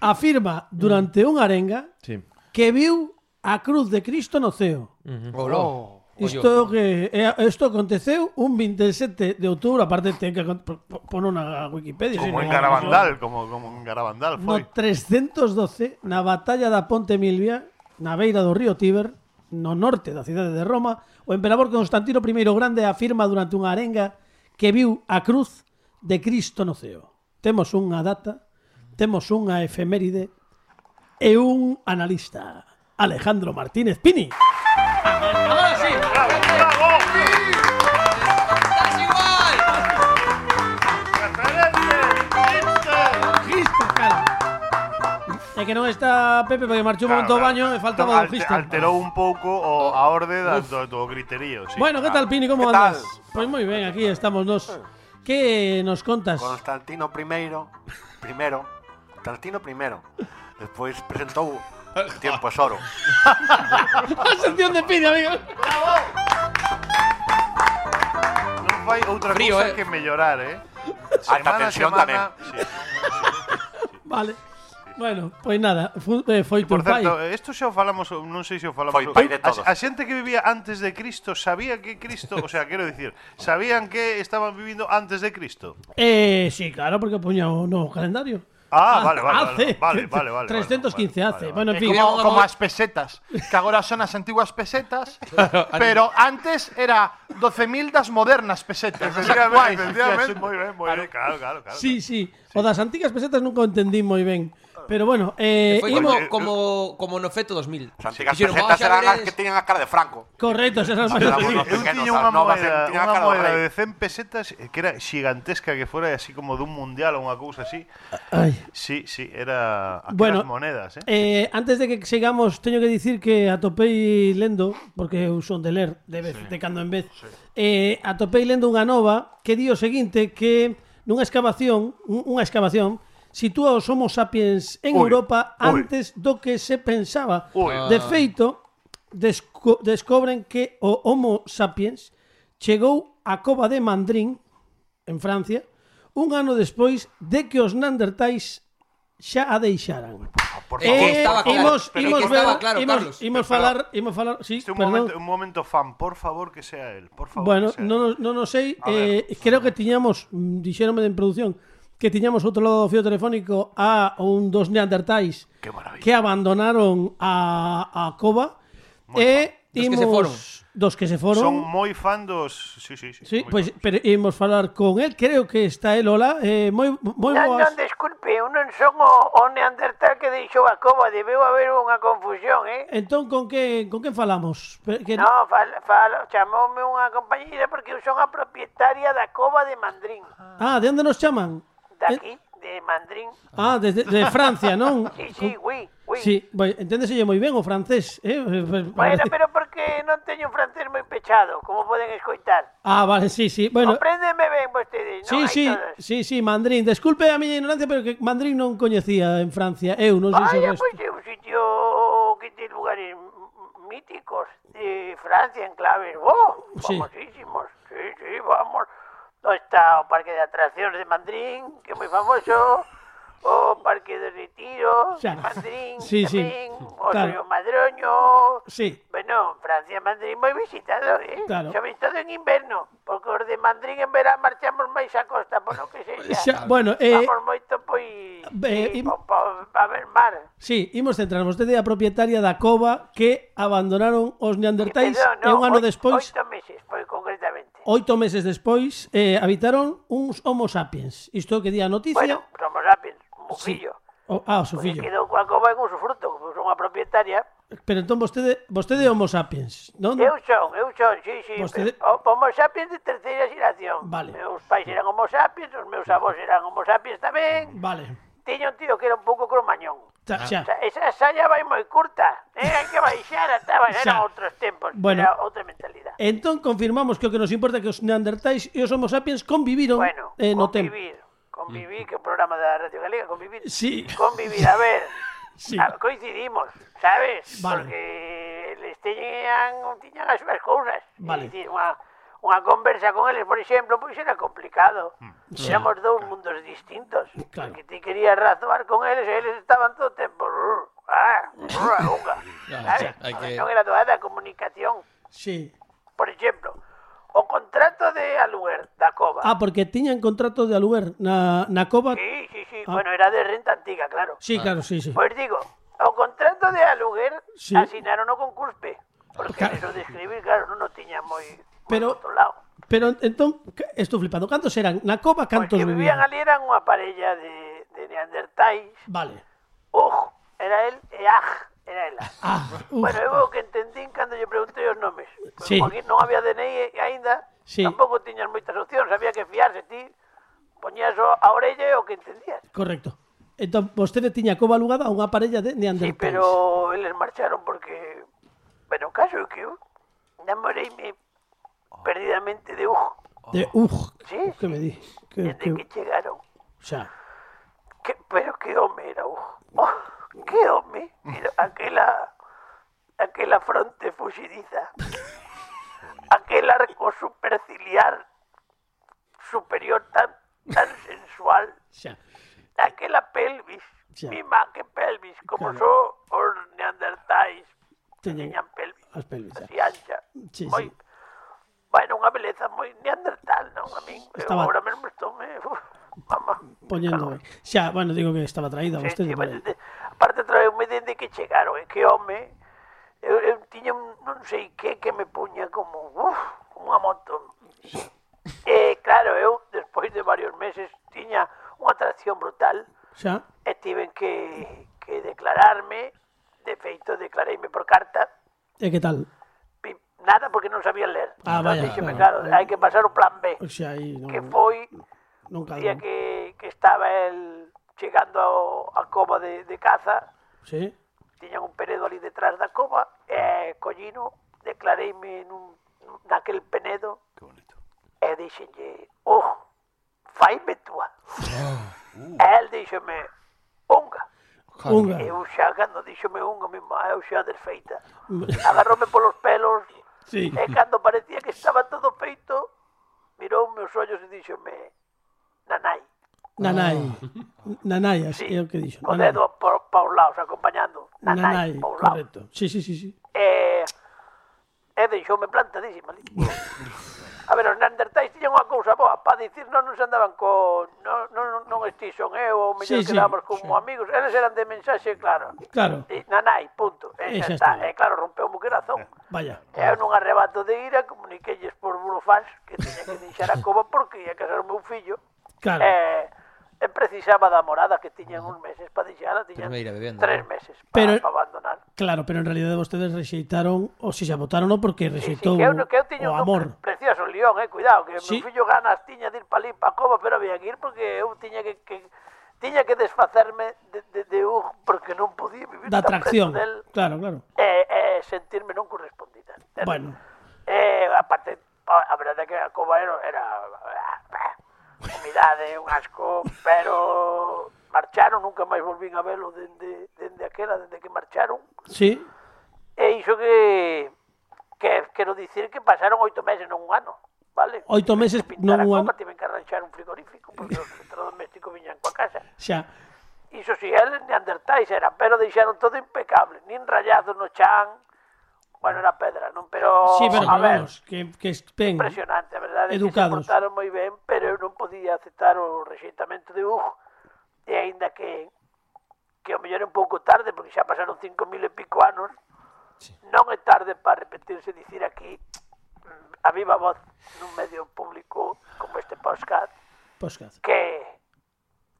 [SPEAKER 2] afirma durante unha arenga
[SPEAKER 4] Sí.
[SPEAKER 2] que viu a cruz de Cristo no ceo.
[SPEAKER 5] Oh.
[SPEAKER 2] Isto que é- isto aconteceu un 27 de outubro, aparte ten que acon- po- po- pon unha Wikipedia.
[SPEAKER 3] Como
[SPEAKER 2] no,
[SPEAKER 3] en Garabandal, como, como en Garabandal foi.
[SPEAKER 2] No 312, na batalla da Ponte Milvia, na beira do río Tíber, no norte da cidade de Roma, o emperador Constantino I o Grande afirma durante unha arenga que viu a cruz de Cristo no ceo. Temos unha data, temos unha efeméride e un analista, Alejandro Martínez Pini.
[SPEAKER 7] Ahora sí. ¡Estás igual!
[SPEAKER 2] É que non está Pepe porque marchou un momento ao baño e faltaba o
[SPEAKER 3] Alte-
[SPEAKER 2] Cristo.
[SPEAKER 3] Alterou un pouco o, a orde da, do, do griterío. Sí. Ah,
[SPEAKER 2] Bueno, que tal Pini, como
[SPEAKER 8] Que tal?
[SPEAKER 2] andas? Pois moi ben, aquí estamos nos. Que nos contas?
[SPEAKER 8] Constantino I, primero, Constantino I, despois presentou o Tiempo es oro.
[SPEAKER 2] A sección de Pini, amigo.
[SPEAKER 3] Non fai outra
[SPEAKER 7] Frío,
[SPEAKER 3] cousa
[SPEAKER 7] eh.
[SPEAKER 3] que mellorar, eh?
[SPEAKER 8] Alta tensión tamén.
[SPEAKER 2] Vale. Bueno, pois nada, fu, eh, foi
[SPEAKER 3] Por
[SPEAKER 2] tu pai.
[SPEAKER 3] certo, isto xa o falamos, ou non sei se o falamos.
[SPEAKER 8] Foi pai de
[SPEAKER 3] A-
[SPEAKER 8] todos.
[SPEAKER 3] A, xente que vivía antes de Cristo sabía que Cristo, o sea, quero dicir, sabían que estaban vivindo antes de Cristo.
[SPEAKER 2] Eh, sí, claro, porque puña o no calendario.
[SPEAKER 3] Ah, vale, vale,
[SPEAKER 2] Hace.
[SPEAKER 3] vale, vale, vale, vale,
[SPEAKER 2] 315
[SPEAKER 3] vale,
[SPEAKER 2] hace.
[SPEAKER 3] vale,
[SPEAKER 2] Bueno, en
[SPEAKER 5] É
[SPEAKER 2] fin.
[SPEAKER 5] eh, como, como as pesetas, que agora son as antiguas pesetas, pero antes era 12.000 das modernas pesetas. as
[SPEAKER 3] Efectivamente,
[SPEAKER 5] actuais.
[SPEAKER 3] efectivamente. Moi ben, moi ben, claro, claro, claro.
[SPEAKER 2] Sí, sí. O das antigas pesetas nunca o entendí moi ben. Pero bueno, eh,
[SPEAKER 7] Foi
[SPEAKER 2] imos-
[SPEAKER 7] como, como, como no feto 2000.
[SPEAKER 8] As antigas
[SPEAKER 7] Dixeron,
[SPEAKER 8] pesetas
[SPEAKER 7] "Vamos a ver
[SPEAKER 8] eran as
[SPEAKER 7] eres".
[SPEAKER 8] que tiñan a cara de Franco.
[SPEAKER 2] Correcto, esas eran as
[SPEAKER 8] Era
[SPEAKER 2] máis
[SPEAKER 8] bueno.
[SPEAKER 3] Eu
[SPEAKER 8] pequenos,
[SPEAKER 3] tiña unha
[SPEAKER 8] as novas,
[SPEAKER 3] moeda,
[SPEAKER 8] tiña
[SPEAKER 3] unha
[SPEAKER 8] cara do
[SPEAKER 3] moeda
[SPEAKER 8] rei.
[SPEAKER 3] de 100 pesetas eh, que era gigantesca que fora así como dun mundial ou unha cousa así.
[SPEAKER 2] Ay.
[SPEAKER 3] Sí, sí, era aquelas
[SPEAKER 2] Bueno,
[SPEAKER 3] monedas, eh.
[SPEAKER 2] Eh, antes de que sigamos, teño que dicir que atopei lendo, porque eu son de ler de vez, de cando en vez, eh, atopei lendo unha nova que di o seguinte que nunha excavación, un- unha excavación, sitúa os homo sapiens en
[SPEAKER 3] Ui,
[SPEAKER 2] Europa
[SPEAKER 3] ui.
[SPEAKER 2] antes do que se pensaba.
[SPEAKER 3] Ui.
[SPEAKER 2] De feito, desco descobren que o homo sapiens chegou á cova de Mandrín, en Francia, un ano despois de que os neandertais xa a deixaran.
[SPEAKER 8] Por
[SPEAKER 7] Eh,
[SPEAKER 8] favor.
[SPEAKER 7] que estaba claro,
[SPEAKER 2] imos,
[SPEAKER 7] pero
[SPEAKER 2] imos
[SPEAKER 7] que
[SPEAKER 2] ver,
[SPEAKER 7] estaba claro,
[SPEAKER 2] imos,
[SPEAKER 7] Carlos.
[SPEAKER 2] imos falar, imos falar, sí,
[SPEAKER 3] Este un
[SPEAKER 2] perdón.
[SPEAKER 3] momento, un momento fan, por favor, que sea él, por favor.
[SPEAKER 2] bueno,
[SPEAKER 3] que sea
[SPEAKER 2] non
[SPEAKER 3] él.
[SPEAKER 2] nos- non o sei,
[SPEAKER 3] A
[SPEAKER 2] eh, creo que tiñamos, mm, dixéronme en produción, que tiñamos outro lado do fío telefónico a un dos neandertais
[SPEAKER 3] Qué maravilla.
[SPEAKER 2] que abandonaron a, a Cova e
[SPEAKER 7] Dos que se foron.
[SPEAKER 2] dos que se foron.
[SPEAKER 3] Son moi fan dos, sí, sí, sí.
[SPEAKER 2] Sí,
[SPEAKER 3] moi
[SPEAKER 2] pois
[SPEAKER 3] fan.
[SPEAKER 2] pero imos falar con el, creo que está el, hola, eh, moi moi
[SPEAKER 9] Non,
[SPEAKER 2] boas.
[SPEAKER 9] non, desculpe, eu non son o, o neandertal que deixou a cova, debeu haber unha confusión, eh?
[SPEAKER 2] Entón con que con quen falamos? Pe- Que
[SPEAKER 9] No, fal, fal, chamoume unha compañeira porque eu son a propietaria da cova de Mandrín.
[SPEAKER 2] Ah, de onde nos chaman?
[SPEAKER 9] Daqui, de Mandrín.
[SPEAKER 2] Ah, desde de Francia, non?
[SPEAKER 9] Sí, sí, oui, oui.
[SPEAKER 2] Sí, bueno, enténdeselle moi ben o francés, eh? Eh, eh,
[SPEAKER 9] Bueno,
[SPEAKER 2] parece-
[SPEAKER 9] pero porque non teño un francés moi pechado, como poden escoitar.
[SPEAKER 2] Ah, vale, sí, sí. Bueno,
[SPEAKER 9] Compréndeme ben
[SPEAKER 2] sí,
[SPEAKER 9] vostedes, non? Aí
[SPEAKER 2] sí,
[SPEAKER 9] todos.
[SPEAKER 2] sí, sí, mandrín. Desculpe a miña ignorancia, pero que mandrín non coñecía en Francia. Eu non sei se o
[SPEAKER 9] Vaya,
[SPEAKER 2] resto.
[SPEAKER 9] pois é un sitio que ten lugares m- míticos de Francia, enclaves, oh,
[SPEAKER 2] Sí.
[SPEAKER 9] famosísimos, sí, sí, vamos. No está o Parque de Atracciones de Mandrín, que é moi famoso, o Parque de Retiro
[SPEAKER 2] Xa.
[SPEAKER 9] de Mandrín,
[SPEAKER 2] Sí, sí,
[SPEAKER 9] tamén, o
[SPEAKER 2] claro.
[SPEAKER 9] Río Madroño...
[SPEAKER 2] Sí.
[SPEAKER 9] Bueno, Francia e Mandrín moi visitado, eh?
[SPEAKER 2] Claro.
[SPEAKER 9] Sobre todo en inverno, porque os de Mandrín en verán marchamos máis a costa, por lo que
[SPEAKER 2] Xa,
[SPEAKER 9] sexa.
[SPEAKER 2] bueno, eh,
[SPEAKER 9] Vamos moito, pois...
[SPEAKER 2] Be-
[SPEAKER 9] sí,
[SPEAKER 2] im-
[SPEAKER 9] po- po- pa ver mar.
[SPEAKER 2] Sí, imos centrar vostede é a propietaria da cova que abandonaron os neandertais
[SPEAKER 9] Perdón,
[SPEAKER 2] e un ano
[SPEAKER 9] oi-
[SPEAKER 2] despois,
[SPEAKER 9] Eh, Oito meses, foi concretamente.
[SPEAKER 2] oito meses despois, eh, habitaron uns homo sapiens. Isto que di a
[SPEAKER 9] Bueno,
[SPEAKER 2] noticia.
[SPEAKER 9] somos rápidos, un
[SPEAKER 2] Sí.
[SPEAKER 9] fillo.
[SPEAKER 2] O, ah, o seu
[SPEAKER 9] Pois
[SPEAKER 2] fillo.
[SPEAKER 9] quedou coa cova en usufruto, como son a propietaria,
[SPEAKER 2] Pero entón vostede, vostede é homo sapiens, non?
[SPEAKER 9] Eu son, eu son, sí, sí.
[SPEAKER 2] Vostede-
[SPEAKER 9] pero o- Homo sapiens de terceira xeración.
[SPEAKER 2] Vale.
[SPEAKER 9] Meus pais eran homo sapiens, os meus avós eran homo sapiens tamén.
[SPEAKER 2] Vale.
[SPEAKER 9] Tiña un tío que era un pouco cromañón.
[SPEAKER 2] Xa,
[SPEAKER 9] O
[SPEAKER 2] xa.
[SPEAKER 9] sea, esa saya vai moi curta. Eh, hai que baixar ata baixar
[SPEAKER 2] Xa.
[SPEAKER 9] a outros tempos.
[SPEAKER 2] Bueno.
[SPEAKER 9] Era outra mentalidade.
[SPEAKER 2] Entón confirmamos que o que nos importa é que os neandertais e os homo sapiens conviviron
[SPEAKER 9] Bueno,
[SPEAKER 2] eh, no tempo.
[SPEAKER 9] convivir. Convivir, que é o programa da Radio Galega, convivir.
[SPEAKER 2] Mm. Sí.
[SPEAKER 9] Convivir, a ver.
[SPEAKER 2] Sí.
[SPEAKER 9] a- coincidimos, sabes?
[SPEAKER 2] Vale.
[SPEAKER 9] Porque eles teñan, tiñan as súas cousas.
[SPEAKER 2] Vale.
[SPEAKER 9] É dicir, unha, unha conversa con eles, por exemplo, pois era complicado. Éramos dous mundos distintos.
[SPEAKER 2] Claro.
[SPEAKER 9] Que ti querías razoar con eles e eles estaban todo o tempo... "Rrr, Ah, rrr, unga", sabes?
[SPEAKER 7] hai que-
[SPEAKER 9] Non era toda a comunicación.
[SPEAKER 2] Sí.
[SPEAKER 9] Por exemplo, o contrato de Aluer da Cova.
[SPEAKER 2] Ah, porque tiñan contrato de aluguer na, na cova.
[SPEAKER 9] Sí, sí, sí. Bueno, era de renta antiga, claro.
[SPEAKER 2] Ah. Sí, claro, sí, sí.
[SPEAKER 9] Pues digo, o contrato de aluguer
[SPEAKER 2] Sí.
[SPEAKER 9] asinaron o con Cuspe. Porque
[SPEAKER 2] Claro.
[SPEAKER 9] eso de escribir, claro, non o tiña moi, moi
[SPEAKER 2] Pero-
[SPEAKER 9] controlado.
[SPEAKER 2] Pero entón, ca- estou flipando. Cantos eran? Na cova
[SPEAKER 9] Os
[SPEAKER 2] cantos
[SPEAKER 9] que
[SPEAKER 2] vivían?
[SPEAKER 9] vivían ali eran unha parella de, de Neandertais.
[SPEAKER 2] Vale.
[SPEAKER 9] Uj, era el e Aj, era ela.
[SPEAKER 2] Ah, uf,
[SPEAKER 9] Bueno, eu o que entendín cando lle preguntei os nomes. Porque
[SPEAKER 2] Sí.
[SPEAKER 9] Como aquí non había DNI aínda,
[SPEAKER 2] Sí.
[SPEAKER 9] tampouco tiñas moitas opcións, había que fiarse ti. Poñías o- a orella e o que entendías.
[SPEAKER 2] correcto. Entón, vostede tiña a cova alugada a unha parella de
[SPEAKER 9] Sí,
[SPEAKER 2] neandertais.
[SPEAKER 9] pero eles marcharon porque... Bueno, o caso é que eu namoreime perdidamente de Ujo.
[SPEAKER 2] De, uf,
[SPEAKER 9] Sí,
[SPEAKER 2] que me di. Que,
[SPEAKER 9] Desde
[SPEAKER 2] que,
[SPEAKER 9] que chegaron.
[SPEAKER 2] xa.
[SPEAKER 9] Que, pero que home era Ujo. Oh, que home. Era aquela... Aquela fronte fuxidiza. Aquel arco superciliar superior tan, tan sensual.
[SPEAKER 2] xa.
[SPEAKER 9] Aquela pelvis.
[SPEAKER 2] Sí.
[SPEAKER 9] Mima, que pelvis. Como son os neandertais.
[SPEAKER 2] Tiñen
[SPEAKER 9] Tiñan pelvis.
[SPEAKER 2] as pelis. xa.
[SPEAKER 9] así ancha.
[SPEAKER 2] Sí, sí.
[SPEAKER 9] moi, Bueno, unha beleza moi neandertal, non? A min,
[SPEAKER 2] Estaba-
[SPEAKER 9] Estaba... agora mesmo estou me... Uf, mamá.
[SPEAKER 2] Poñendo. Xa, bueno, digo que estaba traída
[SPEAKER 9] Sí,
[SPEAKER 2] vostede
[SPEAKER 9] sí,
[SPEAKER 2] por aí.
[SPEAKER 9] bastante- Aparte, traeume dende que ¿eh? chegaron, é que home... Eu, eu tiña Eh, un non sei que que me puña como, uf, como unha moto. E claro, eu, despois de varios meses, tiña unha atracción brutal
[SPEAKER 2] Xa.
[SPEAKER 9] e tiven que, que declararme. De feito, declareime por carta.
[SPEAKER 2] E que tal?
[SPEAKER 9] Pi- Nada porque non sabía ler.
[SPEAKER 2] Ah,
[SPEAKER 9] Entón,
[SPEAKER 2] vaya,
[SPEAKER 9] díxeme,
[SPEAKER 2] claro.
[SPEAKER 9] claro, hai que pasar o plan B.
[SPEAKER 2] O sea, Pois aí non,
[SPEAKER 9] que foi
[SPEAKER 2] non
[SPEAKER 9] o
[SPEAKER 2] cadrou.
[SPEAKER 9] día que, que estaba el chegando ao- á cova de, de caza,
[SPEAKER 2] Sí.
[SPEAKER 9] tiñan un penedo ali detrás da cova, e collino, declareime nun, naquel penedo, que bonito. e dixenlle, oh, faime túa. Ah, E el díxome, unga.
[SPEAKER 2] Unga.
[SPEAKER 9] Eu xa, cando díxome unga, mi má, eu xa desfeita. Agarróme polos pelos,
[SPEAKER 2] Sí.
[SPEAKER 9] E cando Eh, parecía que estaba todo feito, mirou meus ollos e díxome, nanai,
[SPEAKER 2] Nanai. Nanai, así
[SPEAKER 9] eh. Sí.
[SPEAKER 2] é o que dixo.
[SPEAKER 9] o dedo pa, pa os lados, acompañando, nanai,
[SPEAKER 2] Nanai,
[SPEAKER 9] pa os lados.
[SPEAKER 2] correcto. Sí, sí, sí, sí.
[SPEAKER 9] E, e deixoume plantadísima ali. A ver, os neandertais tiñan unha cousa boa, para dicir non nos andaban co... Non, non, non estis son eu, ou mellor
[SPEAKER 2] Sí, sí,
[SPEAKER 9] quedábamos como amigos, eles eran de mensaxe, claro.
[SPEAKER 2] Claro.
[SPEAKER 9] E, nanai, punto. E,
[SPEAKER 2] E xa
[SPEAKER 9] xa
[SPEAKER 2] está.
[SPEAKER 9] está. E claro, rompeu o corazón.
[SPEAKER 2] Vaya.
[SPEAKER 9] Eu nun arrebato de ira comuniqueilles por burofans que tiña que deixar a cova porque ia casar o meu fillo
[SPEAKER 2] Claro.
[SPEAKER 9] e, e precisaba da morada que tiñan uns meses para deixala, tiñan
[SPEAKER 7] Primeira bebenda,
[SPEAKER 9] tres
[SPEAKER 7] ¿no?
[SPEAKER 9] meses para
[SPEAKER 2] Pero-
[SPEAKER 9] pa abandonar.
[SPEAKER 2] Claro, pero en realidad vostedes rexeitaron, ou se xa votaron, porque
[SPEAKER 9] Sí, sí,
[SPEAKER 2] rexeitou
[SPEAKER 9] que eu, que eu
[SPEAKER 2] o
[SPEAKER 9] tiño un
[SPEAKER 2] amor.
[SPEAKER 9] pre- precioso León, eh, cuidado, que o
[SPEAKER 2] Sí.
[SPEAKER 9] meu fillo ganas tiña de ir para ali, para cova, pero había que ir porque eu tiña que, que tiña que desfacerme de, de, de un porque non podía vivir
[SPEAKER 2] Da
[SPEAKER 9] tan
[SPEAKER 2] atracción.
[SPEAKER 9] preto del
[SPEAKER 2] Claro, claro.
[SPEAKER 9] e, e sentirme non correspondida. Era-
[SPEAKER 2] Bueno.
[SPEAKER 9] Eh, aparte, a a verdade é que a Cuba era, era humidade, un asco, pero marcharon, nunca máis volvín a velo dende, dende aquela, dende que marcharon.
[SPEAKER 2] Sí.
[SPEAKER 9] E iso que, que quero dicir que pasaron oito meses, non un ano, vale?
[SPEAKER 2] Oito
[SPEAKER 9] Tiven
[SPEAKER 2] meses,
[SPEAKER 9] que pintar
[SPEAKER 2] non
[SPEAKER 9] a
[SPEAKER 2] un
[SPEAKER 9] copa,
[SPEAKER 2] ano.
[SPEAKER 9] Tiven que arranxar un frigorífico, porque os electrodomésticos viñan coa casa.
[SPEAKER 2] Xa.
[SPEAKER 9] Iso si, eles neandertais eran, pero deixaron todo impecable, nin rayazos no chan, bueno, era pedra, non? Pero,
[SPEAKER 2] Sí, pero
[SPEAKER 9] Oh, a
[SPEAKER 2] que
[SPEAKER 9] ver,
[SPEAKER 2] vamos, que, que estén...
[SPEAKER 9] impresionante, a verdade, é que se
[SPEAKER 2] Educados.
[SPEAKER 9] portaron moi ben, pero eu non podía aceptar o rexeitamento de Uj, e aínda que que o mellor é un pouco tarde, porque xa pasaron 5.000 e pico anos, non é tarde para repetirse e dicir aquí mm, a viva voz nun medio público como este podcast
[SPEAKER 2] Podcast.
[SPEAKER 9] que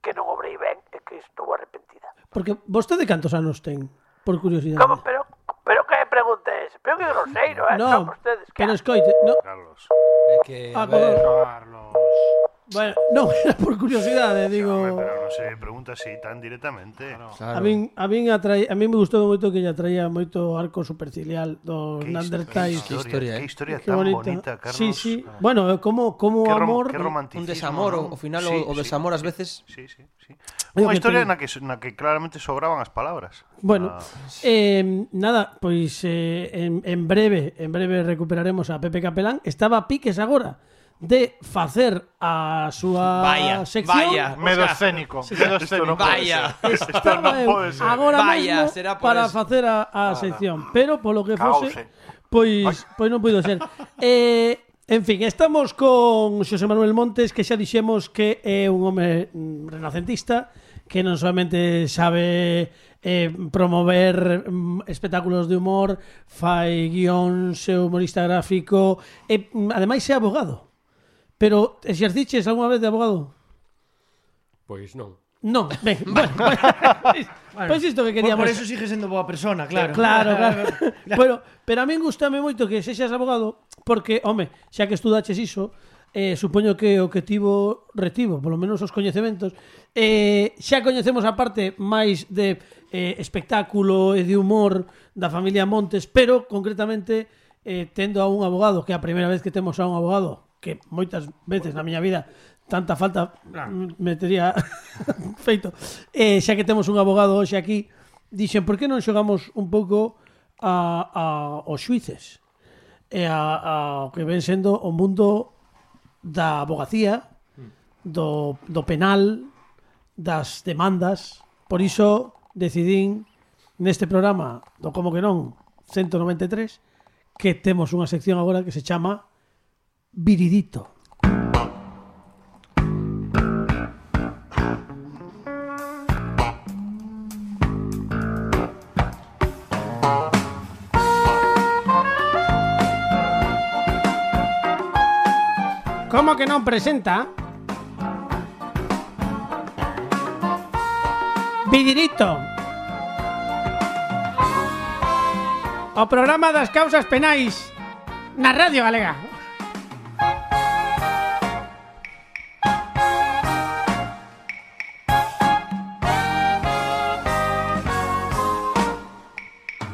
[SPEAKER 9] que non obrei ben e que estou arrepentida.
[SPEAKER 2] Porque vostede cantos anos ten, por curiosidade?
[SPEAKER 9] Como, pero, pregunta é esa. Pero que groseiro, eh?
[SPEAKER 2] No,
[SPEAKER 9] Son vostedes que...
[SPEAKER 2] pero escoite, no,
[SPEAKER 3] Carlos.
[SPEAKER 7] É que, a
[SPEAKER 2] ah,
[SPEAKER 7] ver,
[SPEAKER 2] como-
[SPEAKER 3] Carlos.
[SPEAKER 2] bueno, non, era por curiosidade,
[SPEAKER 3] Hombre,
[SPEAKER 2] digo...
[SPEAKER 3] pero no se pregunta así tan directamente.
[SPEAKER 7] claro.
[SPEAKER 2] A min, a min, atrai, a min me gustou moito que lle atraía moito arco supercilial dos
[SPEAKER 3] Qué
[SPEAKER 2] Neanderthals.
[SPEAKER 7] qué historia,
[SPEAKER 3] qué
[SPEAKER 7] eh.
[SPEAKER 3] historia
[SPEAKER 2] Qué
[SPEAKER 3] tan
[SPEAKER 2] bonita.
[SPEAKER 3] bonita, Carlos.
[SPEAKER 2] Sí, sí. Bueno, eh, como como
[SPEAKER 3] Qué rom-
[SPEAKER 2] amor.
[SPEAKER 3] qué
[SPEAKER 7] un
[SPEAKER 3] romanticismo,
[SPEAKER 7] desamor,
[SPEAKER 3] ¿no?
[SPEAKER 7] ao final
[SPEAKER 3] Sí,
[SPEAKER 7] o, o
[SPEAKER 3] sí,
[SPEAKER 7] desamor ás
[SPEAKER 3] sí.
[SPEAKER 7] veces
[SPEAKER 3] Sí, sí, sí.
[SPEAKER 2] Oye,
[SPEAKER 3] Unha
[SPEAKER 2] que
[SPEAKER 3] historia
[SPEAKER 2] te-
[SPEAKER 3] na que, na que claramente sobraban as palabras. Ah.
[SPEAKER 2] Bueno, eh, nada, pois eh, en, en breve, en breve recuperaremos a Pepe Capelán. Estaba a piques agora de facer a súa
[SPEAKER 7] Vaya,
[SPEAKER 2] sección.
[SPEAKER 7] vaya.
[SPEAKER 5] Medo
[SPEAKER 7] o sea,
[SPEAKER 5] escénico. Medo escénico.
[SPEAKER 7] Vaya.
[SPEAKER 2] Estaba
[SPEAKER 3] non
[SPEAKER 2] eu
[SPEAKER 3] pode ser.
[SPEAKER 2] agora
[SPEAKER 7] Vaya,
[SPEAKER 2] mesmo
[SPEAKER 7] será por
[SPEAKER 2] para
[SPEAKER 7] eso.
[SPEAKER 2] facer a, a sección, pero polo que pues, fose,
[SPEAKER 4] eh.
[SPEAKER 8] Caose.
[SPEAKER 2] pois pois non puido ser. eh, en fin, estamos con Xosé Manuel Montes, que xa dixemos que é un home mm, renacentista, que non solamente sabe eh, promover mm, espectáculos de humor, fai guións, é humorista gráfico, e mm, ademais é abogado. Pero exerciches algunha vez de abogado?
[SPEAKER 6] Pois non.
[SPEAKER 2] Non, ben, bueno, bueno, pois isto que
[SPEAKER 4] Por,
[SPEAKER 2] queríamos.
[SPEAKER 4] por eso sigue siendo boa persona, claro.
[SPEAKER 2] Claro, claro. pero, pero a min gustame moito que sexas abogado porque, home, xa que estudaches iso, eh, supoño que o que tivo retivo, polo menos os coñecementos, eh, xa coñecemos a parte máis de eh, espectáculo e de humor da familia Montes, pero concretamente eh, tendo a un abogado, que é a primeira vez que temos a un abogado, que moitas veces na miña vida tanta falta me tería feito. Eh, xa que temos un abogado hoxe aquí, dixen, por que non xogamos un pouco a, a os xuices e a, a, o que ven sendo o mundo da abogacía do, do penal das demandas por iso decidín neste programa do como que non 193 que temos unha sección agora que se chama Viridito Como que non presenta? Vidirito. O programa das causas penais na Radio Galega.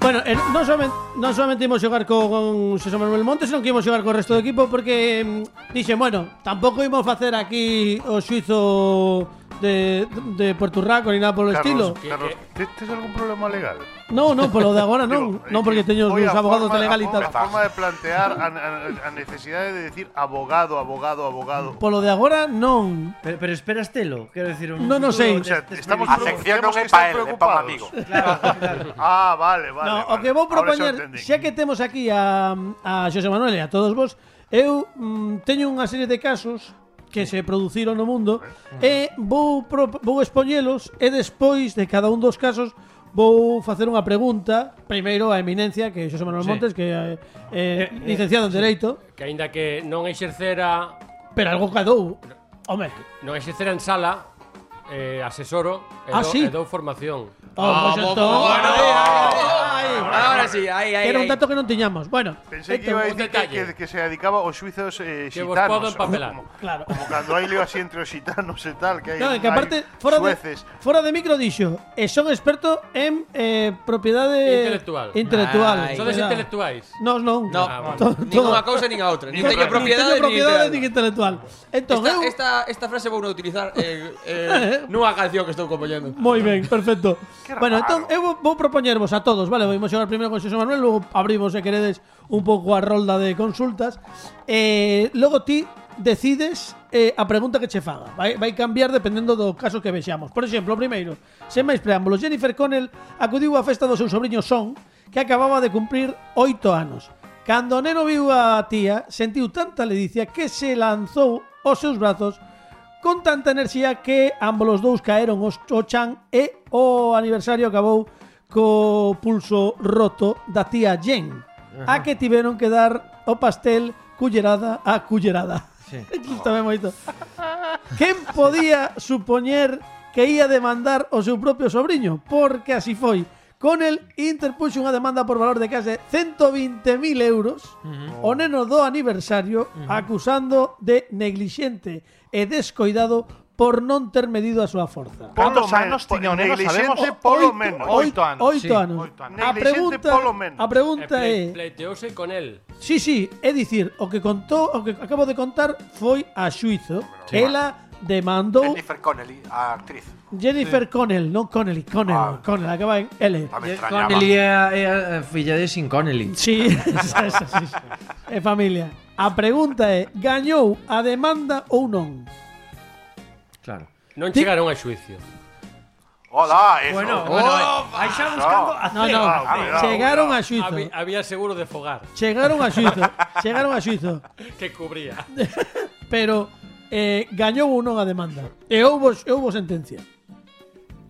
[SPEAKER 2] Bueno, eh, non solamente, non solamente imos xogar co- con Xosé Manuel Montes, senón que imos xogar co resto do equipo porque mm, dixen, bueno, tampouco imos facer aquí o suizo de, de Puerto Rico ni nada polo estilo.
[SPEAKER 3] Carlos, Carlos, te- tes algún problema legal?
[SPEAKER 2] No, Ah, no, polo de agora non,
[SPEAKER 3] Digo,
[SPEAKER 2] non porque teño os
[SPEAKER 3] foi
[SPEAKER 2] meus
[SPEAKER 3] a
[SPEAKER 2] abogados
[SPEAKER 3] forma-
[SPEAKER 2] de legal e
[SPEAKER 3] a
[SPEAKER 2] tal.
[SPEAKER 3] forma- A forma de plantear a, a, a necesidade de decir abogado, abogado, abogado.
[SPEAKER 2] Polo de agora non.
[SPEAKER 4] Pero, pero esperastelo, quiero decir. un
[SPEAKER 2] No, no sei.
[SPEAKER 4] futuro de-
[SPEAKER 3] O sea,
[SPEAKER 4] de-
[SPEAKER 3] estamos
[SPEAKER 8] A
[SPEAKER 3] Creo que
[SPEAKER 8] sección non
[SPEAKER 3] temos
[SPEAKER 8] é
[SPEAKER 3] que
[SPEAKER 8] pa el,
[SPEAKER 3] estar
[SPEAKER 8] é pa un
[SPEAKER 3] preocupados.
[SPEAKER 8] amigo.
[SPEAKER 3] Ah, vale, vale.
[SPEAKER 2] no,
[SPEAKER 3] vale.
[SPEAKER 2] o que vou
[SPEAKER 3] Ahora xa
[SPEAKER 2] propoñer,
[SPEAKER 3] entendín.
[SPEAKER 2] xa que temos aquí a, a Xosé Manuel e a todos vos, eu mm, teño unha serie de casos que se produciron no mundo e vou, pro, vou expoñelos e despois de cada un dos casos vou facer unha pregunta primeiro a eminencia que é Xosé Manuel
[SPEAKER 4] Sí.
[SPEAKER 2] Montes que é eh, licenciado en Dereito
[SPEAKER 6] Que aínda que non exercera
[SPEAKER 2] pero algo cadou home oh,
[SPEAKER 6] non exercera en sala, eh, asesoro, e,
[SPEAKER 2] Ah,
[SPEAKER 6] dou,
[SPEAKER 2] sí?
[SPEAKER 6] e dou formación.
[SPEAKER 2] oh, pois
[SPEAKER 7] bo-
[SPEAKER 2] entón-
[SPEAKER 7] bueno,
[SPEAKER 2] Ai, ai, ai, ai.
[SPEAKER 7] Ahora sí, ahí, ahí.
[SPEAKER 2] era un
[SPEAKER 7] ahí.
[SPEAKER 2] dato que non tiñamos bueno
[SPEAKER 3] Pensei que iba
[SPEAKER 2] entón,
[SPEAKER 3] a
[SPEAKER 6] un
[SPEAKER 3] decir que,
[SPEAKER 6] detalle.
[SPEAKER 3] que, que se dedicaba aos suizos eh,
[SPEAKER 6] Que vos
[SPEAKER 3] xitanos.
[SPEAKER 6] podo empapelar.
[SPEAKER 3] Como,
[SPEAKER 2] Claro.
[SPEAKER 3] como cando hai lío así entre os xitanos e tal, que hai,
[SPEAKER 2] No, é que
[SPEAKER 3] hai
[SPEAKER 2] aparte, fora
[SPEAKER 3] sueces.
[SPEAKER 2] de, fora de micro dixo, e son experto en eh, propiedade
[SPEAKER 6] Intelectual.
[SPEAKER 2] intelectual.
[SPEAKER 7] Ai,
[SPEAKER 6] Sodes
[SPEAKER 2] verdad.
[SPEAKER 6] intelectuais.
[SPEAKER 2] Nós non.
[SPEAKER 7] No,
[SPEAKER 6] Ah, bueno.
[SPEAKER 2] To-
[SPEAKER 7] nin
[SPEAKER 2] todo.
[SPEAKER 7] unha cousa nin a outra. Nin
[SPEAKER 2] Nin
[SPEAKER 7] teño
[SPEAKER 2] teño
[SPEAKER 7] propiedade, nin
[SPEAKER 2] propiedade, nin
[SPEAKER 7] intelectual.
[SPEAKER 2] intelectual. Entón,
[SPEAKER 7] Esta,
[SPEAKER 2] eu...
[SPEAKER 7] esta, esta frase vou utilizar eh, eh, nunha canción que estou compoñendo.
[SPEAKER 2] Moi ben, perfecto. bueno, entón, eu vou, vou propoñervos a todos, vale? Vamos xogar primeiro con Xosé Manuel, logo abrimos, se queredes, un pouco a rolda de consultas. Eh, logo ti decides eh, a pregunta que che faga. Vai, vai cambiar dependendo do caso que vexamos. Por exemplo, o primeiro, sen máis preámbulos, Jennifer Connell acudiu á festa do seu sobrinho Son, que acababa de cumprir oito anos. Cando o neno viu a tía, sentiu tanta ledicia que se lanzou aos seus brazos con tanta enerxía que ambos os dous caeron os o chan e o aniversario acabou co pulso roto da tía Jen, a que tiveron que dar o pastel cullerada a cullerada.
[SPEAKER 4] Sí.
[SPEAKER 2] Gústame moito. Quen podía supoñer que ia demandar o seu propio sobriño? Porque así foi. Conel interpuxo unha demanda por valor de case 120.000 euros o neno do aniversario acusando de neglixente e descoidado por non ter medido a súa forza.
[SPEAKER 5] ¿Cuántos
[SPEAKER 3] Polo
[SPEAKER 5] años
[SPEAKER 3] menos,
[SPEAKER 5] tenía un
[SPEAKER 3] po-
[SPEAKER 5] neno? Sabemos
[SPEAKER 3] negligente, por lo menos.
[SPEAKER 5] Oito anos.
[SPEAKER 2] Oito
[SPEAKER 7] sí,
[SPEAKER 2] anos.
[SPEAKER 5] oito anos.
[SPEAKER 2] A
[SPEAKER 5] Negligente,
[SPEAKER 2] pregunta,
[SPEAKER 5] polo menos.
[SPEAKER 2] a pregunta é...
[SPEAKER 6] Eh, Pleiteouse con él.
[SPEAKER 2] Sí, sí, é dicir, o que contou, o que acabo de contar foi a xuizo. Ela demandou
[SPEAKER 8] Jennifer Connelly, a actriz.
[SPEAKER 2] Jennifer Connell, non Connelly,
[SPEAKER 8] Ah.
[SPEAKER 2] Connell, Connell, acaba en L.
[SPEAKER 8] Ya me extrañaba.
[SPEAKER 4] Eh, Connelly é a, é a filla de Sin Connelly.
[SPEAKER 2] Sí, esa, esa, sí. É familia. A pregunta é, gañou a demanda ou non?
[SPEAKER 4] Claro.
[SPEAKER 6] Non
[SPEAKER 2] Ti-
[SPEAKER 6] chegaron a xuicio.
[SPEAKER 8] Hola, eso.
[SPEAKER 4] Bueno, bueno, eh, aí xa buscando a
[SPEAKER 2] No, no,
[SPEAKER 8] Ah,
[SPEAKER 2] chegaron a xuizo.
[SPEAKER 6] Había, había seguro de fogar
[SPEAKER 2] Chegaron a xuizo, chegaron a xuizo.
[SPEAKER 6] que cubría.
[SPEAKER 2] Pero eh, gañou ou non a demanda? E houbo, e houbo sentencia.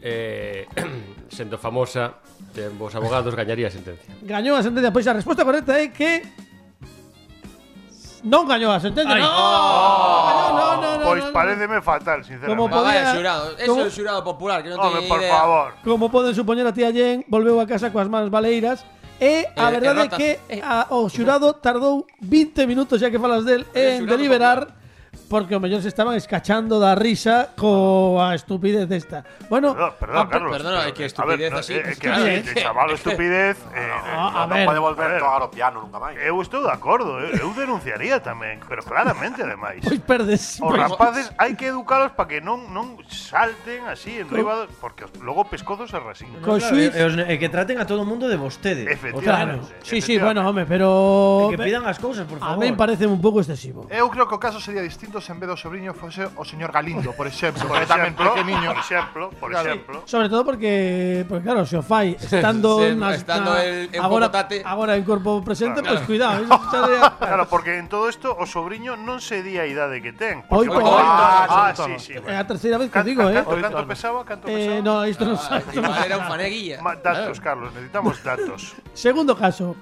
[SPEAKER 6] Eh, sendo famosa, ten vos abogados gañaría a sentencia.
[SPEAKER 2] Gañou a sentencia, pois a resposta correcta é que non gañou a sentencia. No,
[SPEAKER 7] Oh.
[SPEAKER 2] non, non, non, non,
[SPEAKER 3] Pois
[SPEAKER 2] non.
[SPEAKER 3] pareceme pues fatal,
[SPEAKER 2] Como
[SPEAKER 3] sinceramente.
[SPEAKER 2] po-
[SPEAKER 7] Vaya
[SPEAKER 2] Podía-
[SPEAKER 7] xurado. Eso
[SPEAKER 2] ¿Cómo?
[SPEAKER 7] é o xurado popular, que non
[SPEAKER 3] Home,
[SPEAKER 7] teñen
[SPEAKER 3] por
[SPEAKER 7] idea.
[SPEAKER 3] favor.
[SPEAKER 2] Como poden supoñer a tía Jen, volveu a casa coas mans baleiras e a
[SPEAKER 7] Eh,
[SPEAKER 2] verdade é
[SPEAKER 7] erratas.
[SPEAKER 2] que a, o xurado tardou 20 minutos, xa que falas del,
[SPEAKER 7] Eh,
[SPEAKER 2] en
[SPEAKER 7] xurado
[SPEAKER 2] deliberar porque o mellor se estaban escachando da risa coa estupidez desta. Bueno,
[SPEAKER 3] Perdón, perdón,
[SPEAKER 7] Ah,
[SPEAKER 3] Carlos.
[SPEAKER 7] perdona,
[SPEAKER 3] pero-
[SPEAKER 7] es que
[SPEAKER 3] a
[SPEAKER 7] estupidez
[SPEAKER 3] ver, no,
[SPEAKER 7] así,
[SPEAKER 3] eh,
[SPEAKER 7] pues,
[SPEAKER 3] que
[SPEAKER 7] claro,
[SPEAKER 3] así,
[SPEAKER 7] es
[SPEAKER 3] de
[SPEAKER 7] que-
[SPEAKER 3] chaval, estupidez. eh,
[SPEAKER 2] a
[SPEAKER 8] no
[SPEAKER 2] ver,
[SPEAKER 8] pode volver a tocar o piano nunca máis.
[SPEAKER 3] Eu estou Eh, de acordo, eu, eu denunciaría tamén, pero claramente ademais.
[SPEAKER 2] pois
[SPEAKER 3] Os
[SPEAKER 2] perdes.
[SPEAKER 7] pues,
[SPEAKER 2] pois-
[SPEAKER 3] rapaces hai que educalos para que non non salten así en riba, do- porque os- logo pescozo se resigna.
[SPEAKER 2] Co xuiz,
[SPEAKER 4] E, os ne- e que traten a todo o mundo de vostede.
[SPEAKER 2] claro.
[SPEAKER 3] Efectivamente.
[SPEAKER 2] Sí, sí, bueno, home, pero
[SPEAKER 4] O eh, que pidan as cousas, por
[SPEAKER 2] a
[SPEAKER 4] favor.
[SPEAKER 2] mí parece un pouco excesivo.
[SPEAKER 5] Eu creo que o caso sería distinto se en vez do sobriño fose o señor Galindo, por exemplo.
[SPEAKER 3] Por
[SPEAKER 5] que tamén
[SPEAKER 3] exemplo,
[SPEAKER 5] parece niño.
[SPEAKER 3] por exemplo, por
[SPEAKER 5] Claro.
[SPEAKER 3] exemplo.
[SPEAKER 2] Sobre todo porque, porque claro, se o fai estando,
[SPEAKER 7] Sí,
[SPEAKER 2] nas-
[SPEAKER 7] estando el- en
[SPEAKER 2] agora,
[SPEAKER 7] Bogotate.
[SPEAKER 2] agora en corpo presente, pois cuidado, ¿eh? iso sería-
[SPEAKER 3] Claro, porque en todo isto o sobriño non se di a idade que ten.
[SPEAKER 2] Oito,
[SPEAKER 3] Porque-
[SPEAKER 2] oito,
[SPEAKER 3] ah, ah,
[SPEAKER 5] oito,
[SPEAKER 3] sí,
[SPEAKER 5] oito.
[SPEAKER 3] sí.
[SPEAKER 2] É
[SPEAKER 7] Eh,
[SPEAKER 3] bueno.
[SPEAKER 2] a terceira vez que
[SPEAKER 3] Can-
[SPEAKER 2] digo, eh.
[SPEAKER 3] Canto, canto pesaba, canto
[SPEAKER 2] Eh,
[SPEAKER 3] pesaba.
[SPEAKER 2] no, isto non sabe.
[SPEAKER 7] Igual era un eh. faneguilla.
[SPEAKER 3] Ma- datos, Carlos, necesitamos datos.
[SPEAKER 2] Segundo caso.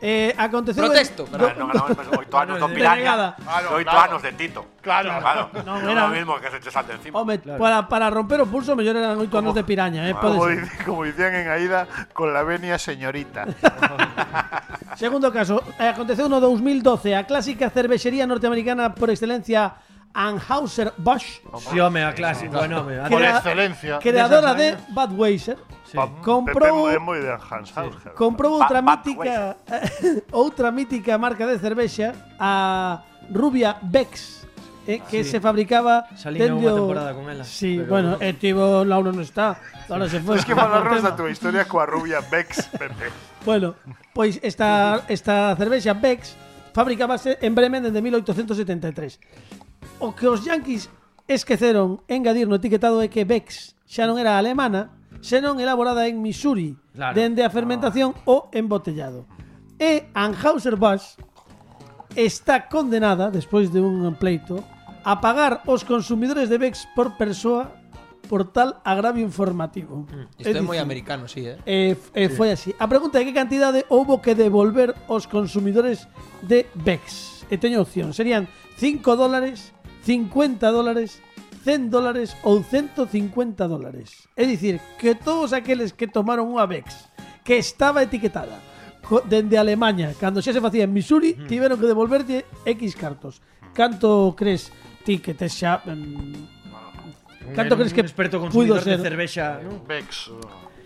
[SPEAKER 2] Eh, aconteceu
[SPEAKER 7] Protesto,
[SPEAKER 2] en-
[SPEAKER 3] Ah,
[SPEAKER 7] pero
[SPEAKER 8] Claro, non ganamos máis oito anos do
[SPEAKER 2] de
[SPEAKER 8] Piranha.
[SPEAKER 2] delegada.
[SPEAKER 8] e Oito
[SPEAKER 5] claro.
[SPEAKER 8] anos de Tito.
[SPEAKER 5] Claro.
[SPEAKER 8] Claro.
[SPEAKER 2] No,
[SPEAKER 8] Non
[SPEAKER 2] era-
[SPEAKER 8] era o mismo que se te salte encima.
[SPEAKER 2] Home, para, para romper o pulso mellor eran oito anos de piraña, eh, pode
[SPEAKER 3] Como,
[SPEAKER 2] ser.
[SPEAKER 3] dic- como dicían en Aida, con la venia señorita.
[SPEAKER 2] Segundo caso, eh, aconteceu no 2012 a clásica cervexería norteamericana por excelencia Anheuser-Busch,
[SPEAKER 4] Sí, home, a clase. Bueno, home,
[SPEAKER 2] Que
[SPEAKER 5] Por
[SPEAKER 2] era-
[SPEAKER 4] antes-
[SPEAKER 5] excelencia.
[SPEAKER 2] creadora de Budweiser, comprou
[SPEAKER 3] Pepe é moi de Hans Hauser.
[SPEAKER 2] comprou
[SPEAKER 8] Ba-
[SPEAKER 2] outra
[SPEAKER 8] Bud
[SPEAKER 2] mítica outra mítica marca de cervexa a rubia Bex
[SPEAKER 4] Ah,
[SPEAKER 2] eh, que se fabricaba
[SPEAKER 4] Salín eu unha
[SPEAKER 2] dende o-
[SPEAKER 4] temporada con ela,
[SPEAKER 2] Sí,
[SPEAKER 4] pero-
[SPEAKER 2] bueno, e tivo Lauro non está, Laura se foi.
[SPEAKER 3] Es que falarnos da túa historia coa rubia Bex, Pepe.
[SPEAKER 2] Bueno, pois esta esta cervexa Bex fabricábase en Bremen desde 1873. e O que os yanquis esqueceron engadir no etiquetado é que Bex xa non era alemana, senón elaborada en Missouri,
[SPEAKER 4] Claro.
[SPEAKER 2] dende a fermentación o embotellado. E Anheuser-Busch está condenada, despois de un pleito, a pagar os consumidores de Bex por persoa por tal agravio informativo.
[SPEAKER 7] Mm, Isto é moi
[SPEAKER 2] dicir,
[SPEAKER 7] americano, sí, eh.
[SPEAKER 2] E, e foi así. A pregunta é que cantidade houbo que devolver aos consumidores de Bex. E teño opción. Serían 5 dólares, 50 dólares, 100 dólares ou 150 dólares. É dicir, que todos aqueles que tomaron unha Bex que estaba etiquetada co- dende Alemanha, cando xa se facía en Missouri, tiveron que devolverlle X cartos. Canto crees ti que tes xa... mm, canto
[SPEAKER 4] Era
[SPEAKER 2] crees que
[SPEAKER 4] un experto
[SPEAKER 2] puido
[SPEAKER 4] consumidor
[SPEAKER 2] ser?
[SPEAKER 4] de cervexa, non?
[SPEAKER 5] Bex.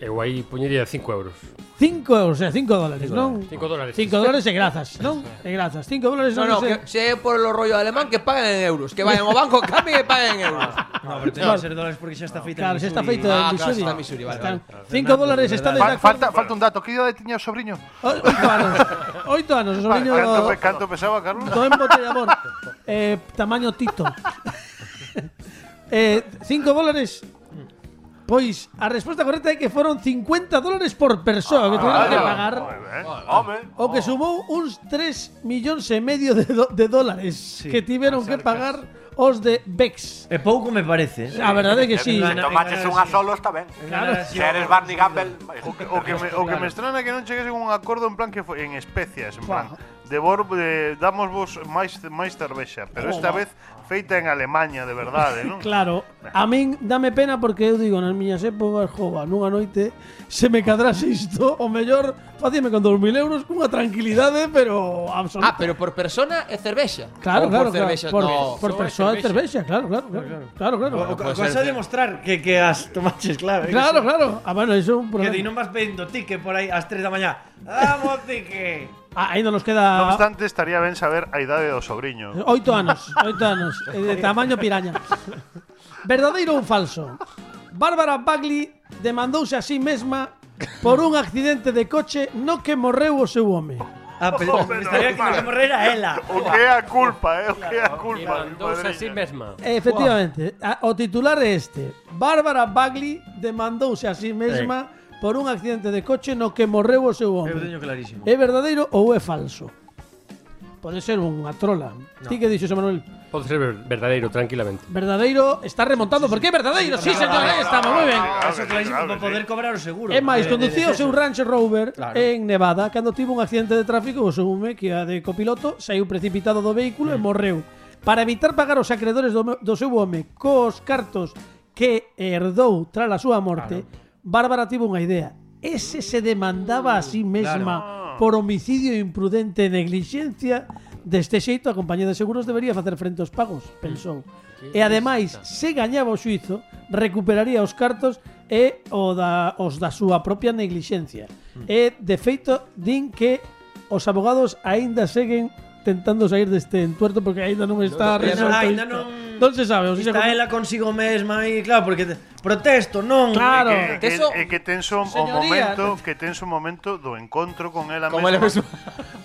[SPEAKER 6] Eu aí poñería 5 euros.
[SPEAKER 2] 5 euros, 5 dólares, non?
[SPEAKER 6] 5 dólares.
[SPEAKER 2] 5 dólares e grazas, non? E grazas. 5 dólares
[SPEAKER 7] No, no,
[SPEAKER 2] sei.
[SPEAKER 7] que se é por o rollo alemán que paguen en euros, que vayan ao banco, cambien e paguen en euros.
[SPEAKER 4] No, pero ten que ser dólares porque xa está feita.
[SPEAKER 2] Claro,
[SPEAKER 4] en
[SPEAKER 2] se está
[SPEAKER 4] Missouri.
[SPEAKER 2] feito
[SPEAKER 7] Ah,
[SPEAKER 2] en
[SPEAKER 7] claro,
[SPEAKER 2] Missouri.
[SPEAKER 7] está en Missouri, vale,
[SPEAKER 2] Están-
[SPEAKER 7] vale.
[SPEAKER 2] cinco
[SPEAKER 4] Fernando,
[SPEAKER 2] dólares
[SPEAKER 4] de
[SPEAKER 2] está
[SPEAKER 4] verdad.
[SPEAKER 2] desde
[SPEAKER 5] Falta, falta un dato. Que idade tiña o sobriño?
[SPEAKER 2] 8 anos. 8 anos, o sobriño
[SPEAKER 3] Canto,
[SPEAKER 2] do,
[SPEAKER 3] pe-
[SPEAKER 7] pues
[SPEAKER 3] canto pesaba, Carlos?
[SPEAKER 2] do embotellador. eh, tamaño Tito. eh, 5 dólares. Pois a resposta correcta é que foron 50 dólares por persoa
[SPEAKER 7] Ah,
[SPEAKER 2] que tiveron que pagar
[SPEAKER 3] Moi ben.
[SPEAKER 8] Home,
[SPEAKER 2] o
[SPEAKER 7] Oh.
[SPEAKER 2] que sumou uns 3 millóns e medio de, do- de dólares que tiveron que pagar os de Bex.
[SPEAKER 4] E pouco me parece.
[SPEAKER 2] A verdade é que sí.
[SPEAKER 8] se tomaches
[SPEAKER 4] Ganar,
[SPEAKER 8] unha
[SPEAKER 4] sí.
[SPEAKER 8] solo está ben.
[SPEAKER 4] Ganar
[SPEAKER 8] Se
[SPEAKER 4] así,
[SPEAKER 8] eres Barney Gamble,
[SPEAKER 3] O que, o que me, o que me estrana é que non cheguesen a un acordo en plan que foi en especias, en plan. de vor, eh, damos vos máis, máis cervexa, pero esta vez feita en Alemanha, de verdade, non?
[SPEAKER 2] Claro, a min dame pena porque eu digo nas miñas épocas, jova, nunha noite se me cadrase isto, o mellor facíme con 2000 euros cunha tranquilidade, pero absoluta.
[SPEAKER 7] Ah, pero por persona é cervexa.
[SPEAKER 2] Claro,
[SPEAKER 7] Ou
[SPEAKER 2] claro,
[SPEAKER 7] por cervexa.
[SPEAKER 2] claro.
[SPEAKER 7] no,
[SPEAKER 2] por, por persoa de cervexa, claro, claro, claro, claro, claro.
[SPEAKER 4] O, o,
[SPEAKER 7] puede
[SPEAKER 4] cosa
[SPEAKER 7] ser.
[SPEAKER 4] de mostrar que, que as tomaches, claro. eh, que
[SPEAKER 2] Claro, claro. Ah, bueno, eso é un
[SPEAKER 4] Que
[SPEAKER 2] problema.
[SPEAKER 4] ti non vas pedindo tique por aí ás 3 da mañá. Vamos, tique.
[SPEAKER 2] Ah, ainda nos
[SPEAKER 3] Non
[SPEAKER 2] queda
[SPEAKER 3] obstante, estaría ben saber a idade do sobriño.
[SPEAKER 2] oito anos, oito anos, eh, de tamaño piraña. Verdadeiro ou falso? Bárbara Bagley demandouse a sí mesma por un accidente de coche no que morreu o seu home.
[SPEAKER 4] Ah, pero
[SPEAKER 3] pero
[SPEAKER 4] estaría que
[SPEAKER 3] mal.
[SPEAKER 4] que morrer a ela.
[SPEAKER 3] O que é a culpa, eh? O que é a
[SPEAKER 6] Y
[SPEAKER 3] culpa, mi
[SPEAKER 6] mandouse a sí
[SPEAKER 3] madriña.
[SPEAKER 6] mesma.
[SPEAKER 2] Eh, Efectivamente, a- o titular é este. Bárbara Bagley demandouse a sí mesma por un accidente de coche no que morreu o seu
[SPEAKER 4] Eu
[SPEAKER 2] home.
[SPEAKER 4] teño clarísimo.
[SPEAKER 2] É verdadeiro ou é falso? Pode ser unha trola. Ti que dixo, Manuel?
[SPEAKER 6] Pode ser ver- verdadeiro, tranquilamente.
[SPEAKER 2] Verdadeiro está remontando porque é verdadeiro. Sí, señor, aí estamos, moi ben.
[SPEAKER 3] Claro,
[SPEAKER 4] Eso clarísimo
[SPEAKER 3] claro,
[SPEAKER 4] para
[SPEAKER 3] sí.
[SPEAKER 4] poder cobrar o seguro.
[SPEAKER 2] É
[SPEAKER 4] Eh,
[SPEAKER 2] máis,
[SPEAKER 4] De- de
[SPEAKER 2] conducía o seu
[SPEAKER 4] deceso.
[SPEAKER 2] Range Rover
[SPEAKER 4] Claro.
[SPEAKER 2] en Nevada cando tivo un accidente de tráfico o seu home que a de copiloto saiu precipitado do vehículo
[SPEAKER 4] Mm.
[SPEAKER 2] e morreu. Para evitar pagar os acreedores do, me- do seu home cos cartos que herdou tras a súa morte, Bárbara tivo unha idea. Ese se demandaba a sí
[SPEAKER 4] Ah.
[SPEAKER 2] mesma por homicidio imprudente e neglixencia Deste xeito, a compañía de seguros debería facer frente aos pagos,
[SPEAKER 4] Mm.
[SPEAKER 2] pensou. E ademais, se gañaba o xuizo, recuperaría os cartos e o da, os da súa propia neglixencia.
[SPEAKER 4] Mm.
[SPEAKER 2] E, de feito, din que os abogados aínda seguen tentando sair deste entuerto porque aínda non está
[SPEAKER 4] Ainda non-
[SPEAKER 2] resolto.
[SPEAKER 4] ainda
[SPEAKER 2] isto.
[SPEAKER 4] non-
[SPEAKER 2] non se sabe. O
[SPEAKER 4] Está ela consigo mesma aí, claro, porque te- protesto, non.
[SPEAKER 2] Claro.
[SPEAKER 3] E que,
[SPEAKER 7] Teso-
[SPEAKER 3] e que tenso o
[SPEAKER 2] Señoría.
[SPEAKER 3] momento que tenso o momento do encontro con ela
[SPEAKER 7] Como ela
[SPEAKER 3] mesma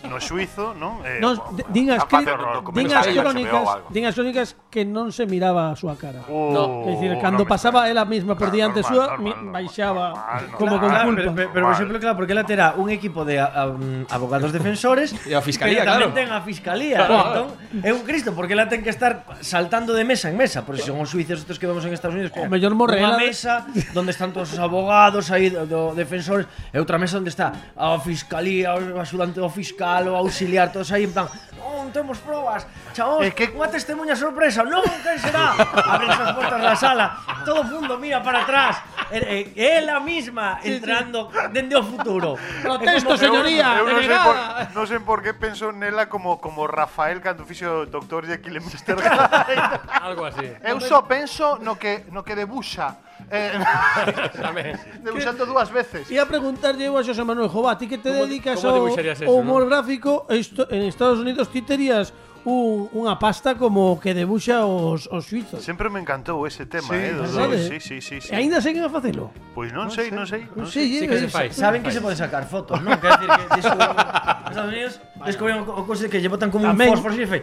[SPEAKER 3] no suizo, non? Eh,
[SPEAKER 2] non,
[SPEAKER 3] bo-
[SPEAKER 2] d- din as,
[SPEAKER 8] Capaz
[SPEAKER 2] cri-
[SPEAKER 8] de horror,
[SPEAKER 2] din
[SPEAKER 8] documental,
[SPEAKER 2] as
[SPEAKER 8] HBO
[SPEAKER 2] crónicas,
[SPEAKER 8] o algo.
[SPEAKER 2] din as crónicas que non se miraba a súa cara.
[SPEAKER 3] oh,
[SPEAKER 2] É dicir, cando
[SPEAKER 3] non me
[SPEAKER 2] pasaba
[SPEAKER 3] extraña.
[SPEAKER 2] ela mesma por
[SPEAKER 3] Claro,
[SPEAKER 2] diante
[SPEAKER 3] normal,
[SPEAKER 2] súa,
[SPEAKER 3] normal,
[SPEAKER 2] mi-
[SPEAKER 3] normal,
[SPEAKER 2] baixaba
[SPEAKER 3] normal,
[SPEAKER 2] como
[SPEAKER 3] normal.
[SPEAKER 2] con
[SPEAKER 4] Claro,
[SPEAKER 2] culpa.
[SPEAKER 4] pero, pero, pero, por exemplo, claro, porque ela terá un equipo de a- a- um, abogados defensores
[SPEAKER 7] E a fiscalía,
[SPEAKER 4] pero tamén
[SPEAKER 7] claro.
[SPEAKER 4] ten a fiscalía. entón, é un cristo, porque ela ten que estar saltando de mesa en mesa, porque son os suizos estos que vemos en Estados Unidos. que
[SPEAKER 2] O mellor morre
[SPEAKER 4] Unha
[SPEAKER 2] ela.
[SPEAKER 4] mesa onde están todos os abogados aí do, do defensores e outra mesa onde está a fiscalía, o axudante do fiscal, o auxiliar, todos aí en plan Non temos probas, chavos,
[SPEAKER 3] É que-
[SPEAKER 4] unha testemunha sorpresa, non, quen será? Abren as portas da sala, todo o mundo mira para atrás, e, e, ela misma entrando dende o futuro.
[SPEAKER 2] Protesto,
[SPEAKER 4] É como-
[SPEAKER 2] señoría,
[SPEAKER 3] Eu non sei, por,
[SPEAKER 2] denegada.
[SPEAKER 3] non sei por que penso nela como como Rafael cando fixo Doctor Jekyll e Mr.
[SPEAKER 6] Algo así.
[SPEAKER 5] Eu só penso no que, no que debuxa. Eh, debuxando dúas veces.
[SPEAKER 2] Ia preguntarlle eu a Xosé Manuel Jová, ti que te
[SPEAKER 6] Como-
[SPEAKER 2] dedicas
[SPEAKER 6] como
[SPEAKER 2] ao,
[SPEAKER 6] dibuixarías eso,
[SPEAKER 2] ao humor
[SPEAKER 6] non?
[SPEAKER 2] gráfico, isto, en Estados Unidos ti terías un, unha pasta como que debuxa os, os suizos.
[SPEAKER 3] Sempre me encantou ese tema, eh, do, do,
[SPEAKER 2] Verdade?
[SPEAKER 3] sí, sí, sí, Pues sí.
[SPEAKER 2] E ainda seguen a facelo.
[SPEAKER 3] Pois non sei, non sei. non sei.
[SPEAKER 2] sí,
[SPEAKER 6] Sí que se fai.
[SPEAKER 4] Saben que se poden sacar fotos, non? Quer decir, que descubriron, nos Estados Unidos descubriron o cousa que lle botan como un
[SPEAKER 2] Amén.
[SPEAKER 4] fósforo e fai...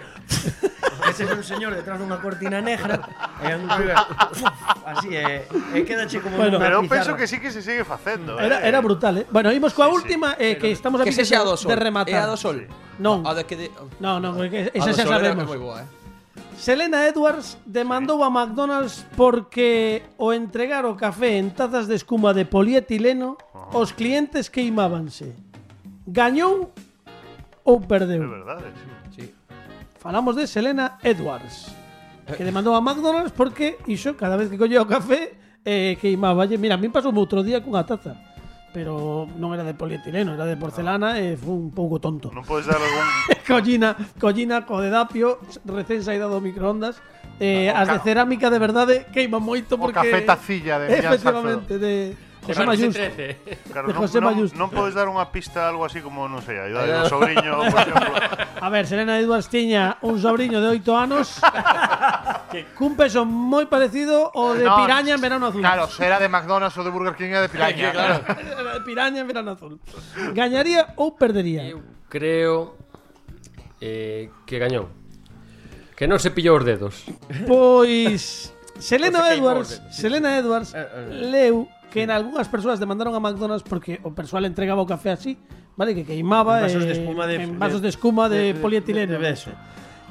[SPEAKER 4] Ese é un señor detrás dunha cortina negra e un pibe, así e, e quedache como
[SPEAKER 2] Bueno,
[SPEAKER 4] bueno,
[SPEAKER 3] Pero eu penso que sí que se sigue facendo.
[SPEAKER 2] Era,
[SPEAKER 3] eh.
[SPEAKER 2] era brutal, eh. Bueno, imos coa última eh, que estamos a
[SPEAKER 7] Que
[SPEAKER 2] piques
[SPEAKER 7] sexa a do sol.
[SPEAKER 2] de rematar.
[SPEAKER 7] É a do sol.
[SPEAKER 2] Non.
[SPEAKER 7] A de que de... ah,
[SPEAKER 2] No, no, porque
[SPEAKER 7] a
[SPEAKER 2] esa
[SPEAKER 7] do
[SPEAKER 2] xa
[SPEAKER 7] sol era-
[SPEAKER 2] sabemos.
[SPEAKER 7] é moi boa, eh.
[SPEAKER 2] Selena Edwards demandou a McDonald's porque o entregar o café en tazas de escuma de polietileno os clientes queimábanse. Gañou ou
[SPEAKER 3] É
[SPEAKER 2] perdeu?
[SPEAKER 3] verdade. sí.
[SPEAKER 2] Falamos de Selena Edwards que demandou a McDonald's porque iso cada vez que collía o café eh, queimáballe. Mira, a min pasou outro día cunha taza pero non era de polietileno, era de porcelana e foi un pouco tonto.
[SPEAKER 3] Non podes dar algún
[SPEAKER 2] Collina, collina co de dapio, recén saída do microondas. Eh,
[SPEAKER 5] Ah, o
[SPEAKER 2] as de
[SPEAKER 5] ca-
[SPEAKER 2] cerámica de verdade queiman moito
[SPEAKER 5] O
[SPEAKER 2] porque
[SPEAKER 5] café tacilla de Millán Salcedo.
[SPEAKER 2] Efectivamente, de José
[SPEAKER 6] Martí
[SPEAKER 2] Mayús.
[SPEAKER 6] 13.
[SPEAKER 3] Claro,
[SPEAKER 2] De
[SPEAKER 3] non,
[SPEAKER 2] José
[SPEAKER 3] non,
[SPEAKER 2] Mayuste.
[SPEAKER 3] non podes dar unha pista algo así como, non sei, a idade do sobrinho, por exemplo.
[SPEAKER 2] A ver, Serena Edwards tiña un sobriño de 8 anos cun peso moi parecido ao de
[SPEAKER 5] No,
[SPEAKER 2] piraña en verano azul.
[SPEAKER 5] Claro, será de McDonald's ou de Burger King e de piraña.
[SPEAKER 2] Era de piraña en verano azul. Gañaría ou perdería?
[SPEAKER 6] Eu creo eh, que gañou. Que non se pillou os dedos.
[SPEAKER 2] Pois Selena
[SPEAKER 6] Pois que
[SPEAKER 2] Edwards,
[SPEAKER 6] imorden.
[SPEAKER 2] Selena Edwards
[SPEAKER 4] Eh,
[SPEAKER 2] leu que en algunhas persoas demandaron a McDonald's porque o persoal entregaba o café así, vale, que queimaba
[SPEAKER 4] En vasos de
[SPEAKER 2] eh,
[SPEAKER 4] espuma de-
[SPEAKER 2] en vasos de, escuma de,
[SPEAKER 4] de- de-
[SPEAKER 2] polietileno.
[SPEAKER 4] de beso.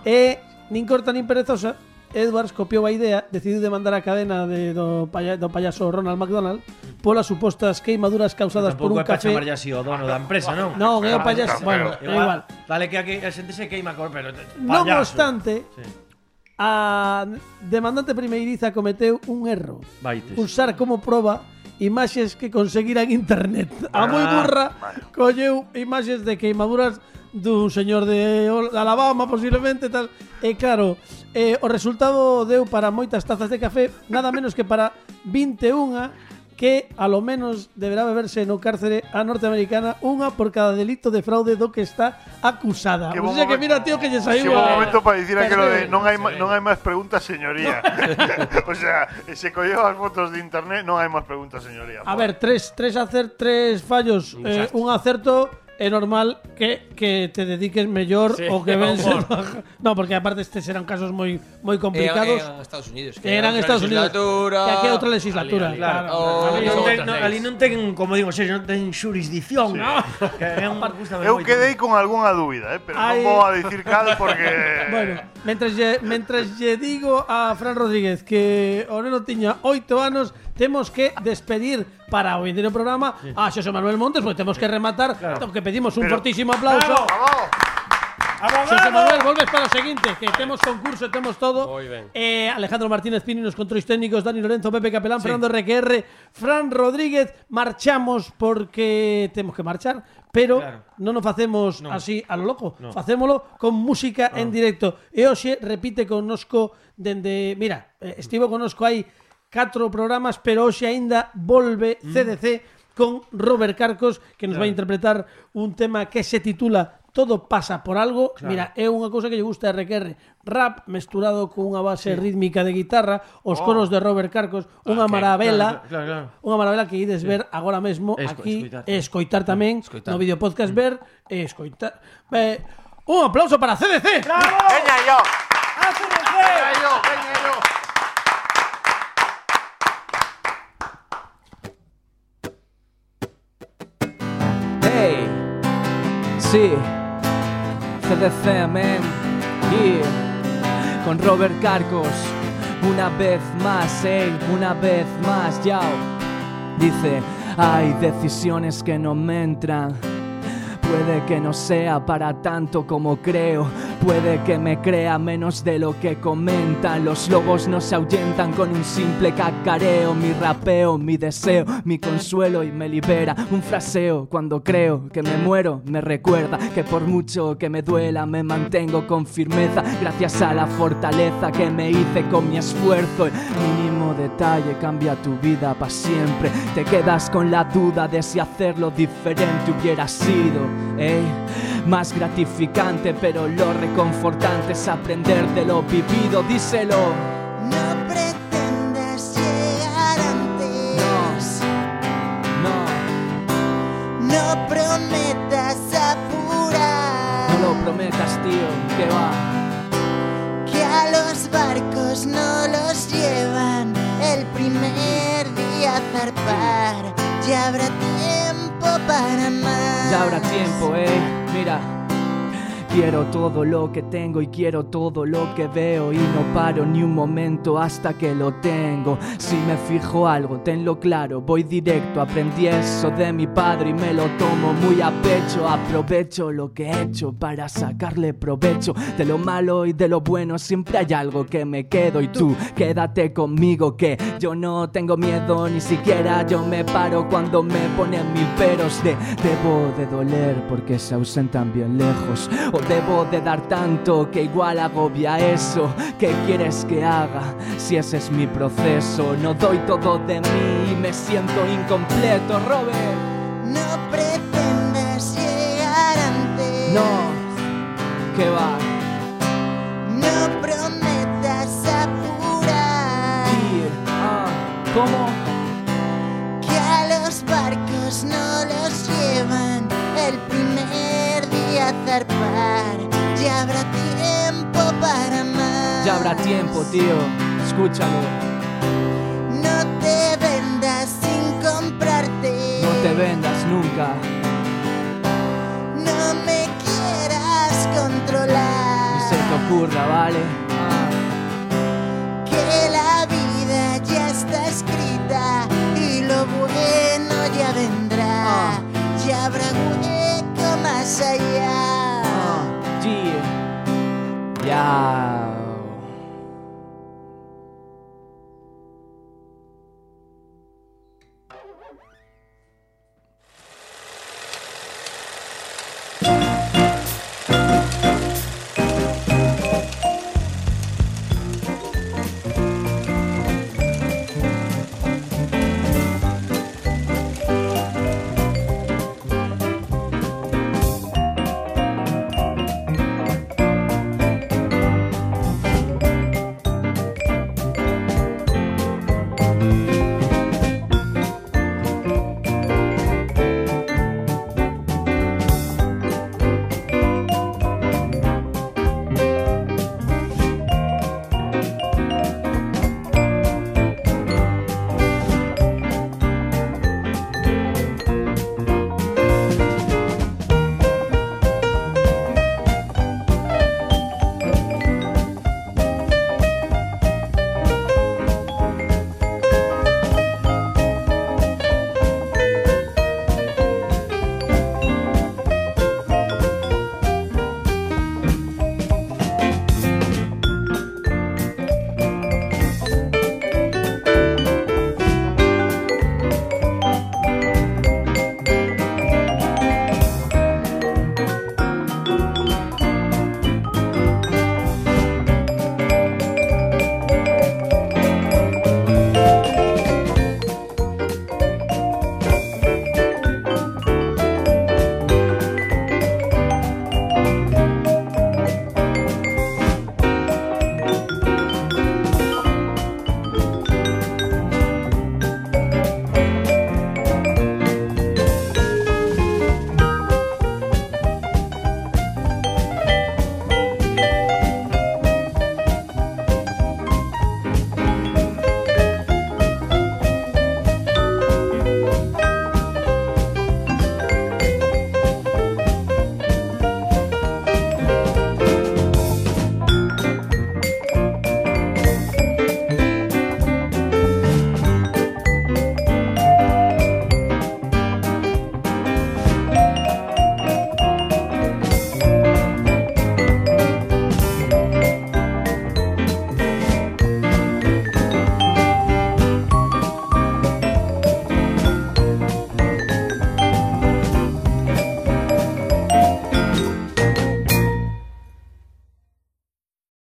[SPEAKER 2] E nin corta nin perezosa Edwards copiou a idea, decidiu demandar a cadena de, do, paya, do payaso Ronald McDonald polas supostas queimaduras causadas por un
[SPEAKER 4] Tampouco é para
[SPEAKER 2] café.
[SPEAKER 4] chamarlle así o dono da empresa, non?
[SPEAKER 2] Non, é o payaso. Bueno, é igual.
[SPEAKER 4] Igual, Dale que aquí a xente se queima cor, pero payaso.
[SPEAKER 2] Non obstante,
[SPEAKER 4] Sí.
[SPEAKER 2] a demandante primeiriza cometeu un erro.
[SPEAKER 4] Vaites.
[SPEAKER 2] Usar como proba imaxes que conseguira en internet. A moi
[SPEAKER 4] Ah,
[SPEAKER 2] burra colleu imaxes de queimaduras dun señor de Ol- Alabama posiblemente tal. E claro, eh, o resultado deu para moitas tazas de café nada menos que para 21 que a lo menos deberá beberse no cárcere a norteamericana unha por cada delito de fraude do que está acusada.
[SPEAKER 3] Que
[SPEAKER 2] O
[SPEAKER 3] bom
[SPEAKER 2] sea Ah, pues que
[SPEAKER 3] momen-
[SPEAKER 2] mira, tío, que lle
[SPEAKER 3] Sí, un
[SPEAKER 2] saiu. a-
[SPEAKER 3] momento para decir aquello de
[SPEAKER 2] Perfecto.
[SPEAKER 3] no hay, ma- non hai más preguntas, señoría. o sea, se cogió las fotos de internet, no hay más preguntas, señoría.
[SPEAKER 2] A ver, tres, tres, acer, tres fallos, eh, un acerto. Es normal que, que te dediques mejor
[SPEAKER 6] Sí,
[SPEAKER 2] o que ven
[SPEAKER 6] mejor.
[SPEAKER 2] No, porque aparte estos eran casos muy, muy
[SPEAKER 7] Eran
[SPEAKER 2] complicados.
[SPEAKER 7] eran Estados Unidos.
[SPEAKER 2] que eran Estados Unidos.
[SPEAKER 7] Legislatura.
[SPEAKER 2] Que aquí hay otra legislatura.
[SPEAKER 6] Ali, ali,
[SPEAKER 2] claro.
[SPEAKER 4] Ali non
[SPEAKER 7] Oh, Son
[SPEAKER 4] ten,
[SPEAKER 7] outras
[SPEAKER 4] non,
[SPEAKER 7] leis.
[SPEAKER 4] ali non ten, como digo, xe, non ten xurisdicción, non? Que é un gustame
[SPEAKER 3] Eu
[SPEAKER 4] moito.
[SPEAKER 3] quedei con alguna duda, eh, pero
[SPEAKER 2] Ai.
[SPEAKER 3] no voy a decir cal porque...
[SPEAKER 2] Bueno, mientras lle, mientras lle digo a Fran Rodríguez que o neno tiña 8 anos, temos que despedir para o vindeiro programa a Xosé Manuel Montes, porque temos que rematar, claro. que pedimos un
[SPEAKER 3] Pero-
[SPEAKER 2] fortísimo aplauso.
[SPEAKER 3] Bravo.
[SPEAKER 2] Xosé Manuel, volves para o seguinte, que temos concurso, temos todo.
[SPEAKER 6] Moi ben.
[SPEAKER 2] Eh, Alejandro Martínez Pini nos controis técnicos, Dani Lorenzo, Pepe Capelán, Fernando RQR, Fran Rodríguez. Marchamos porque temos que marchar, pero
[SPEAKER 4] Claro.
[SPEAKER 2] non nos facemos así a lo loco. Facémolo con música en directo. E hoxe repite connosco dende, mira, eh, estivo connosco hai catro programas, pero hoxe aínda volve CDC con Robert Carcos que nos vai interpretar un tema que se titula Todo pasa por algo. Mira, é unha cousa que lle gusta a RQR. Rap mesturado cunha base rítmica de guitarra, os coros de Robert Carcos, unha maravela.
[SPEAKER 4] Claro, claro, claro.
[SPEAKER 2] Unha maravela que ides ver agora mesmo
[SPEAKER 4] Esco-
[SPEAKER 2] aquí
[SPEAKER 4] escoitar.
[SPEAKER 2] e escoitar tamén
[SPEAKER 7] Escoitar.
[SPEAKER 2] no vídeo podcast ver e escoitar. Eh, un aplauso para CDC.
[SPEAKER 8] Veña yo.
[SPEAKER 5] Veña yo, veña yo.
[SPEAKER 10] Hey, sí, CDC, men, yeah. con Robert Carcos, una vez más, hey, una vez más, yao. Dice, hay decisiones que no me entran. Puede que no sea para tanto como creo, puede que me crea menos de lo que comentan. Los lobos no se ahuyentan con un simple cacareo, mi rapeo, mi deseo, mi consuelo y me libera. Un fraseo cuando creo que me muero, me recuerda que por mucho que me duela me mantengo con firmeza, gracias a la fortaleza que me hice con mi esfuerzo. El mínimo detalle cambia tu vida para siempre. Te quedas con la duda de si hacerlo diferente hubiera sido, ¿eh? Más gratificante, pero lo reconfortante es aprender de lo vivido. Díselo.
[SPEAKER 11] No pretendas llegar antes.
[SPEAKER 10] No,
[SPEAKER 11] No prometas
[SPEAKER 10] no
[SPEAKER 11] apurar.
[SPEAKER 10] lo prometas, tío. Que va.
[SPEAKER 11] Que a los barcos no los llevan. El primer día a zarpar. Ya habrá tiempo para más.
[SPEAKER 10] Ya habrá tiempo, eh. Mira. Quiero todo lo que tengo y quiero todo lo que veo y no paro ni un momento hasta que lo tengo. Si me fijo algo, tenlo claro, voy directo, aprendí eso de mi padre y me lo tomo muy a pecho. Aprovecho lo que he hecho para sacarle provecho. De lo malo y de lo bueno siempre hay algo que me quedo y tú quédate conmigo que yo no tengo miedo ni siquiera yo me paro cuando me ponen mil peros de debo de doler porque se ausentan bien lejos o debo de dar tanto que igual agobia eso que quieres que haga si ese es mi proceso no doy todo de mí y me siento incompleto Robert
[SPEAKER 11] No pretendas llegar antes.
[SPEAKER 10] no que va
[SPEAKER 11] No prometas apurar.
[SPEAKER 10] ir ah, cómo
[SPEAKER 11] que a los barcos no los llevan el primer día a zarpar. Ya habrá tiempo para más.
[SPEAKER 10] ya habrá tiempo tío escúchalo
[SPEAKER 11] No te vendas sin comprarte.
[SPEAKER 10] no te vendas nunca
[SPEAKER 11] No me quieras
[SPEAKER 10] ni se
[SPEAKER 11] controlar.
[SPEAKER 10] te ocurra vale Ah.
[SPEAKER 11] que la vida ya está escrita y lo bueno ya
[SPEAKER 10] Ah.
[SPEAKER 11] vendrá. Ya habrá hueco más allá.
[SPEAKER 10] Ya.